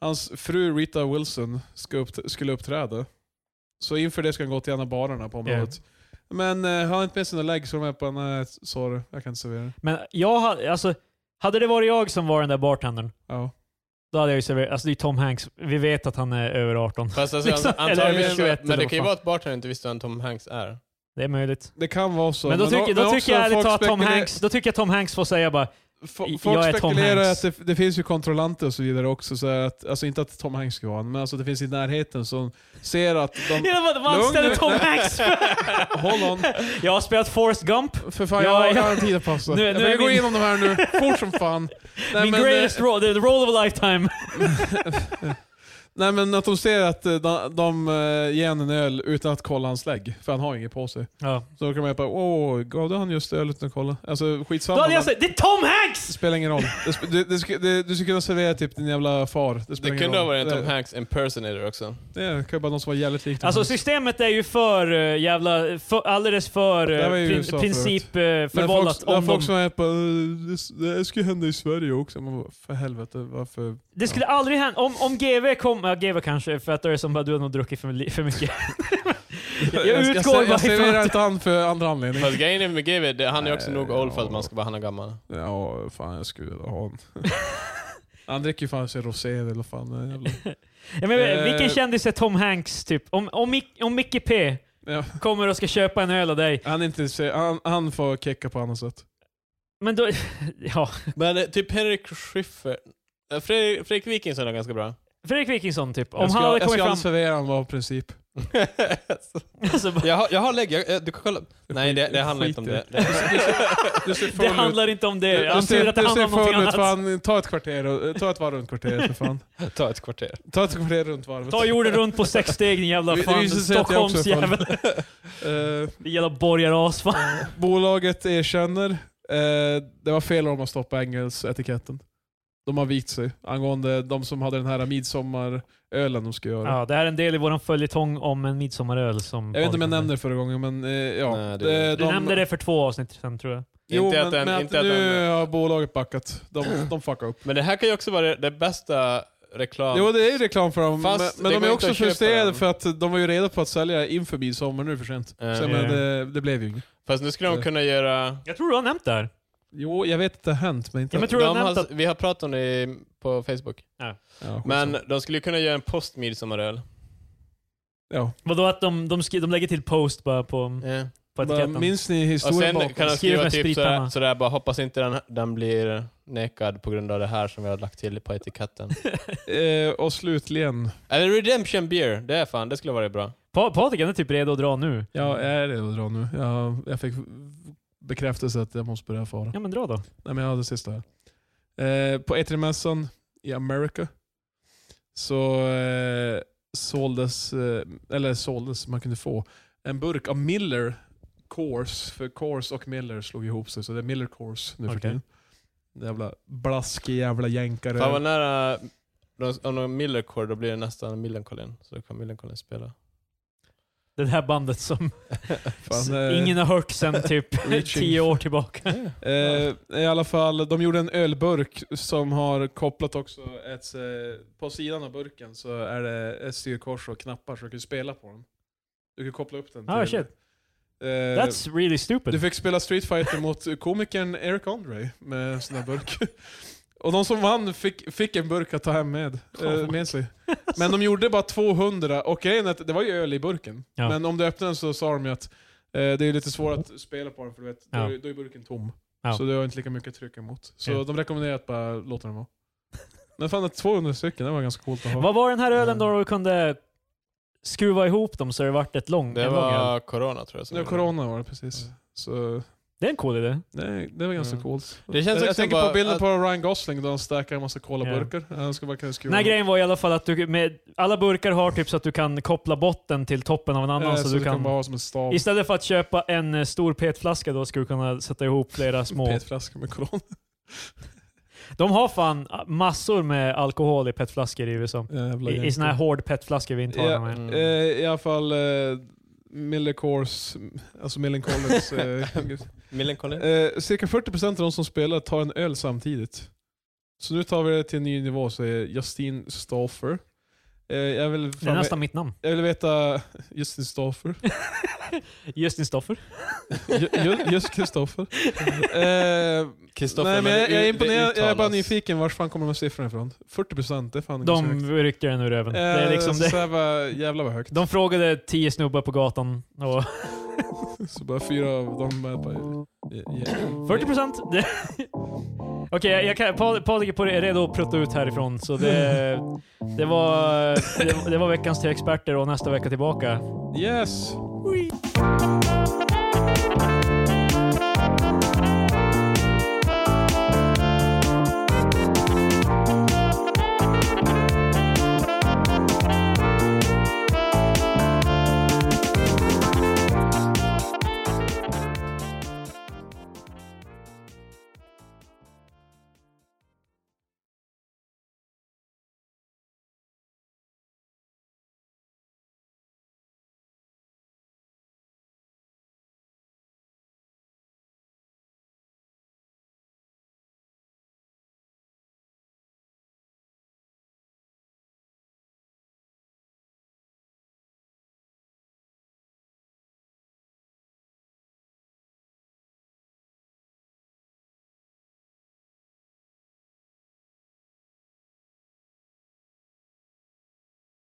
B: hans fru Rita Wilson ska upp, skulle uppträda. Så inför det ska han gå till en av barerna på området. Men eh, han har inte med sina lägg så de är på nej sorry, jag kan inte servera det.
A: Men jag hade, alltså, hade det varit jag som var den där bartendern,
B: Ja.
A: då hade jag ju serverat. Alltså det är Tom Hanks. Vi vet att han är över 18.
C: Fast alltså,
A: Liksom,
C: an-
A: eller
C: antagligen,
A: över 21
C: men det
A: eller
C: kan ju
A: vad
C: vara att bartendern inte visste vem Tom Hanks är.
A: Det är möjligt.
B: Det kan vara så.
A: Men då tycker, då tycker jag ärligt
B: folk
A: talat Tom
B: spekulerar-
A: Hanks, då tycker jag Tom Hanks får säga bara
B: fo-
A: jag
B: Folk
A: är Tom
B: spekulerar att
A: Hanks.
B: det, det finns ju kontrollanter och så vidare också. Så att, alltså inte att Tom Hanks ska vara han, men alltså det finns i närheten som ser att de...
A: "Ja, vad- vad
B: Lugn
A: anställer
B: nu."
A: Tom Hanks för?
B: Hold on.
A: Jag har spelat Forrest Gump.
B: För fan,
A: Ja,
B: jag, jag
A: ja.
B: har en tid att passa.
A: Nu-
B: jag
A: nu
B: behöver
A: är
B: gå
A: min-
B: igenom de här nu, fort som fan. Nej,
A: Min
B: men,
A: greatest
B: eh,
A: role, the role of a lifetime.
B: nej men att de ser att eh, de, de eh, ger en en öl utan att kolla hans lägg, för han har inget på sig.
A: Ja.
B: Så då kan man ju bara åh, gav du han just öl utan att kolla? Alltså
A: Då
B: skitsamma.
A: hade jag
B: men
A: sagt det är Tom Hanks!
B: Det spelar ingen roll. Det, sp- det, det, sk- det, du skulle kunna servera typ din jävla far. Det, spelar
C: Det
B: ingen
C: kunde ha
B: roll.
C: varit en Tom
B: det,
C: Hanks impersonator också.
B: det kan ju vara någon som var jävligt lik Tom
A: Alltså
B: Hanks.
A: systemet är ju för eh, jävla, för, alldeles för
B: Det här
A: eh,
B: var ju
A: prin,
B: USA
A: princip eh,
B: Det är
A: förvållat.
B: folk, det är
A: Om
B: folk
A: de,
B: som är på det, det skulle hända i Sverige också. Man bara, för helvete, varför?
A: det skulle aldrig hända, om, om GV kom, ja GV kanske, för att då är det som att du har nog druckit för, li- för mycket. jag
B: jag,
A: utgår
B: jag,
A: bara
B: jag
A: ifrån
B: serverar
A: att-
B: inte han för andra anledningar.
C: Fast grejen är med GW, det- han är också
B: Nej,
C: nog old för att
B: ja.
C: man ska bara, han är gammal.
B: Ja, fan jag skulle vilja ha en. Han dricker ju fan sig rosé eller fan. den Jävla.
A: Ja, men,
B: Eh.
A: vilken kändis är Tom Hanks typ? Om, om, Mic- om Micke P
B: Ja,
A: kommer och ska köpa en öl av dig,
B: han, är inte, se- han, han får kicka på annat sätt.
A: men då... Ja,
C: Men eh, typ Henrik Schiffer, Eh, Fredrik, Fredrik Wikingsson är ganska bra.
A: Fredrik Wikingsson typ. Om
B: jag ska,
A: han hade
B: jag
A: kommit
B: ska alltså-
A: fram...
B: aldrig servera honom av princip.
A: Alltså, bara-
C: jag, har, jag har lägg, jag, jag- du kan kolla. Nej, det, det handlar inte om det. det.
B: Du ser
A: det
B: full ut.
A: handlar inte om det.
B: Du
A: Han
B: ser,
A: tror
B: du
A: att det handlar
B: ser
A: om någonting
B: full ut.
A: annat.
B: Fan, ta ett kvarter och, ta ett varv runt kvarteret för fan.
C: Ta ett kvarter.
B: Ta ett kvarter runt varvet.
A: Ta jorden runt på sex steg din jävla
B: Det
A: fan
B: visar sig att jag också är full.
A: Stockholmsjävel.
B: Eh,
A: Din jävla borgaras fan.
B: bolaget erkänner. Eh, det var fel om att stoppa Engels-etiketten. De har vikt sig angående de som hade den här midsommarölen de skulle göra.
A: Ja, det här är en del i vår följetong om en midsommaröl som...
B: Jag vet inte om jag nämnde det förra gången, men eh, ja.
C: Nej, det-
B: Eh,
A: Du nämnde det för två avsnitt sen tror jag.
B: Jo,
C: inte
B: men,
C: att den,
B: men
C: inte
B: att
C: att
B: nu
C: den,
B: har bolaget backat. De, de fuckar upp.
C: men det här kan ju också vara det, det bästa reklam...
B: Jo, det är ju reklam för dem,
C: Fast
B: men,
C: det
B: men de
C: går
B: är
C: inte
B: också
C: att köpa
B: frustrerade
C: den.
B: för att de var ju redo på att sälja inför midsommar, nu är det för sent.
C: Eh,
B: Så,
A: ja.
B: men, det, det blev ju inget.
C: Fast nu skulle de kunna göra...
A: Jag tror du har nämnt det här.
B: Jo, jag vet att det har hänt, men inte...
A: Ja, men tror du
C: de
A: har nämnt
C: har, vi har pratat om det i- på Facebook.
B: Ja, skitsamma.
C: Men de skulle ju kunna göra en postmidsommaröl.
B: ja.
A: Vadå att de, de, skri, de lägger till post bara på,
C: Yeah.
A: på
B: Eh, Bara,
A: etiketten?
B: minns ni
C: Och
B: historien
C: sen
B: bakom?
C: kan
A: Skriv
C: de skriva
A: med
C: typ sådär,
A: spritpenna.
C: sådär bara hoppas inte den, den blir nekad på grund av det här som vi har lagt till på etiketten.
B: Eh, och slutligen,
C: Eller Redemption Beer, det är fan, det skulle vara bra.
A: Pa, Patrik han är typ redo att dra nu.
B: ja, jag är redo att dra nu. Jag, jag fick bekräftelse att jag måste börja fara.
A: Ja men dra då.
B: Nej men jag har det sista här. Eh, på E3-mässan i America så eh, såldes, eh, eller såldes, man kunde få en burk av Miller Coors. För Coors och Miller slog ihop sig, så det är Miller Coors nu för
A: Okej.
B: tiden. Jävla blaskig jävla jänkare.
C: Fan vad nära, de- om de Millercore då blir det nästan Millencolin. Så då kan Millencolin spela.
A: Det här bandet som
B: Fan, eh,
A: ingen har hört sen typ
B: Reaching.
A: tio år tillbaka.
B: Eh, I alla fall, de gjorde en ölburk som har kopplat också ett... eh, På sidan av burken så är det ett styrkors och knappar så du kan spela på den. Du kan koppla upp den
A: Ah, shit.
B: eh,
A: That's really stupid.
B: Du fick spela Street Fighter mot komikern Eric Andre med en sån här burk. Och de som vann fick, fick en burk att ta hem med, eh,
A: Oh
B: med sig. Men de gjorde bara 200, och grejen är att det var ju öl i burken.
A: Ja.
B: Men om du öppnade den så sa de ju att eh, det är lite svårt att spela på den för du vet, då,
A: Ja.
B: är- då är burken tom.
A: Ja.
B: Så du har inte lika mycket tryck emot. Så
A: Ja.
B: de rekommenderar att bara låta den vara. Men fan, att 200 stycken, det var ganska coolt att ha.
A: Vad var den här ölen
B: Eh.
A: då du kunde skruva ihop dem så det vart ett
B: Mm,
A: lång,
C: Det
A: en lång öl?
C: var Corona tror jag. som
B: Det var
C: gjorde det.
B: corona var det precis. Så
A: Det är en cool idé.
B: nej, det var ganska
C: Mm.
B: coolt.
C: Det känns
B: Jag,
C: också
B: jag tänker
C: bara
B: på bilden
C: att-
B: på Ryan Gosling då han stackar en massa colaburkar. Han ska bara kunna skruva
A: Den här
B: upp.
A: grejen var i alla fall att du, med, alla burkar har typ så att du kan koppla botten till toppen av en annan.
B: Eh,
A: så, du kan,
B: bara ha som en stav.
A: Istället för att köpa en eh, stor petflaska då skulle du kunna sätta ihop flera små.
B: Petflaska med corona.
A: De har fan ah, massor med alkohol i petflaskor i USA.
B: Jävla
A: I, i
B: jänkare.
A: såna här hård petflaskor vi inte har
B: Ja.
A: yeah. med.
C: Mm.
B: Eh, I alla fall eh, Miller Coors, alltså Millen Collins. eh,
C: Millencolin?
B: eh, cirka 40% av de som spelar tar en öl samtidigt. Så nu tar vi det till en ny nivå, säger Justin Stauffer. Eh, jag, vill
A: Det är
B: fan,
A: nästan mitt namn.
B: jag vill veta... Justin Stauffer?
A: Justin Stoffer.
B: Ju- Ju- Just Kristoffer? Eh,
C: Kristoffer,
B: nej, men jag, jag, är
C: det
B: imponerad, jag är bara
C: uttalas.
B: nyfiken, var fan kommer de här siffrorna ifrån? 40% det är fan ganska
A: De
B: högt.
A: rycker den ur röven. Det är
B: Eh,
A: liksom det.
B: Så här var, jävlar vad högt.
A: De frågade tio snubbar på gatan och
B: Så bara fyra av dem är bara... Ja, ja.
A: 40 procent. Okej, jag- jag kan- Pa- Patrik är på- är redo att prutta ut härifrån. Så det, det, var, det, det var veckans tre experter och nästa vecka tillbaka.
B: Yes!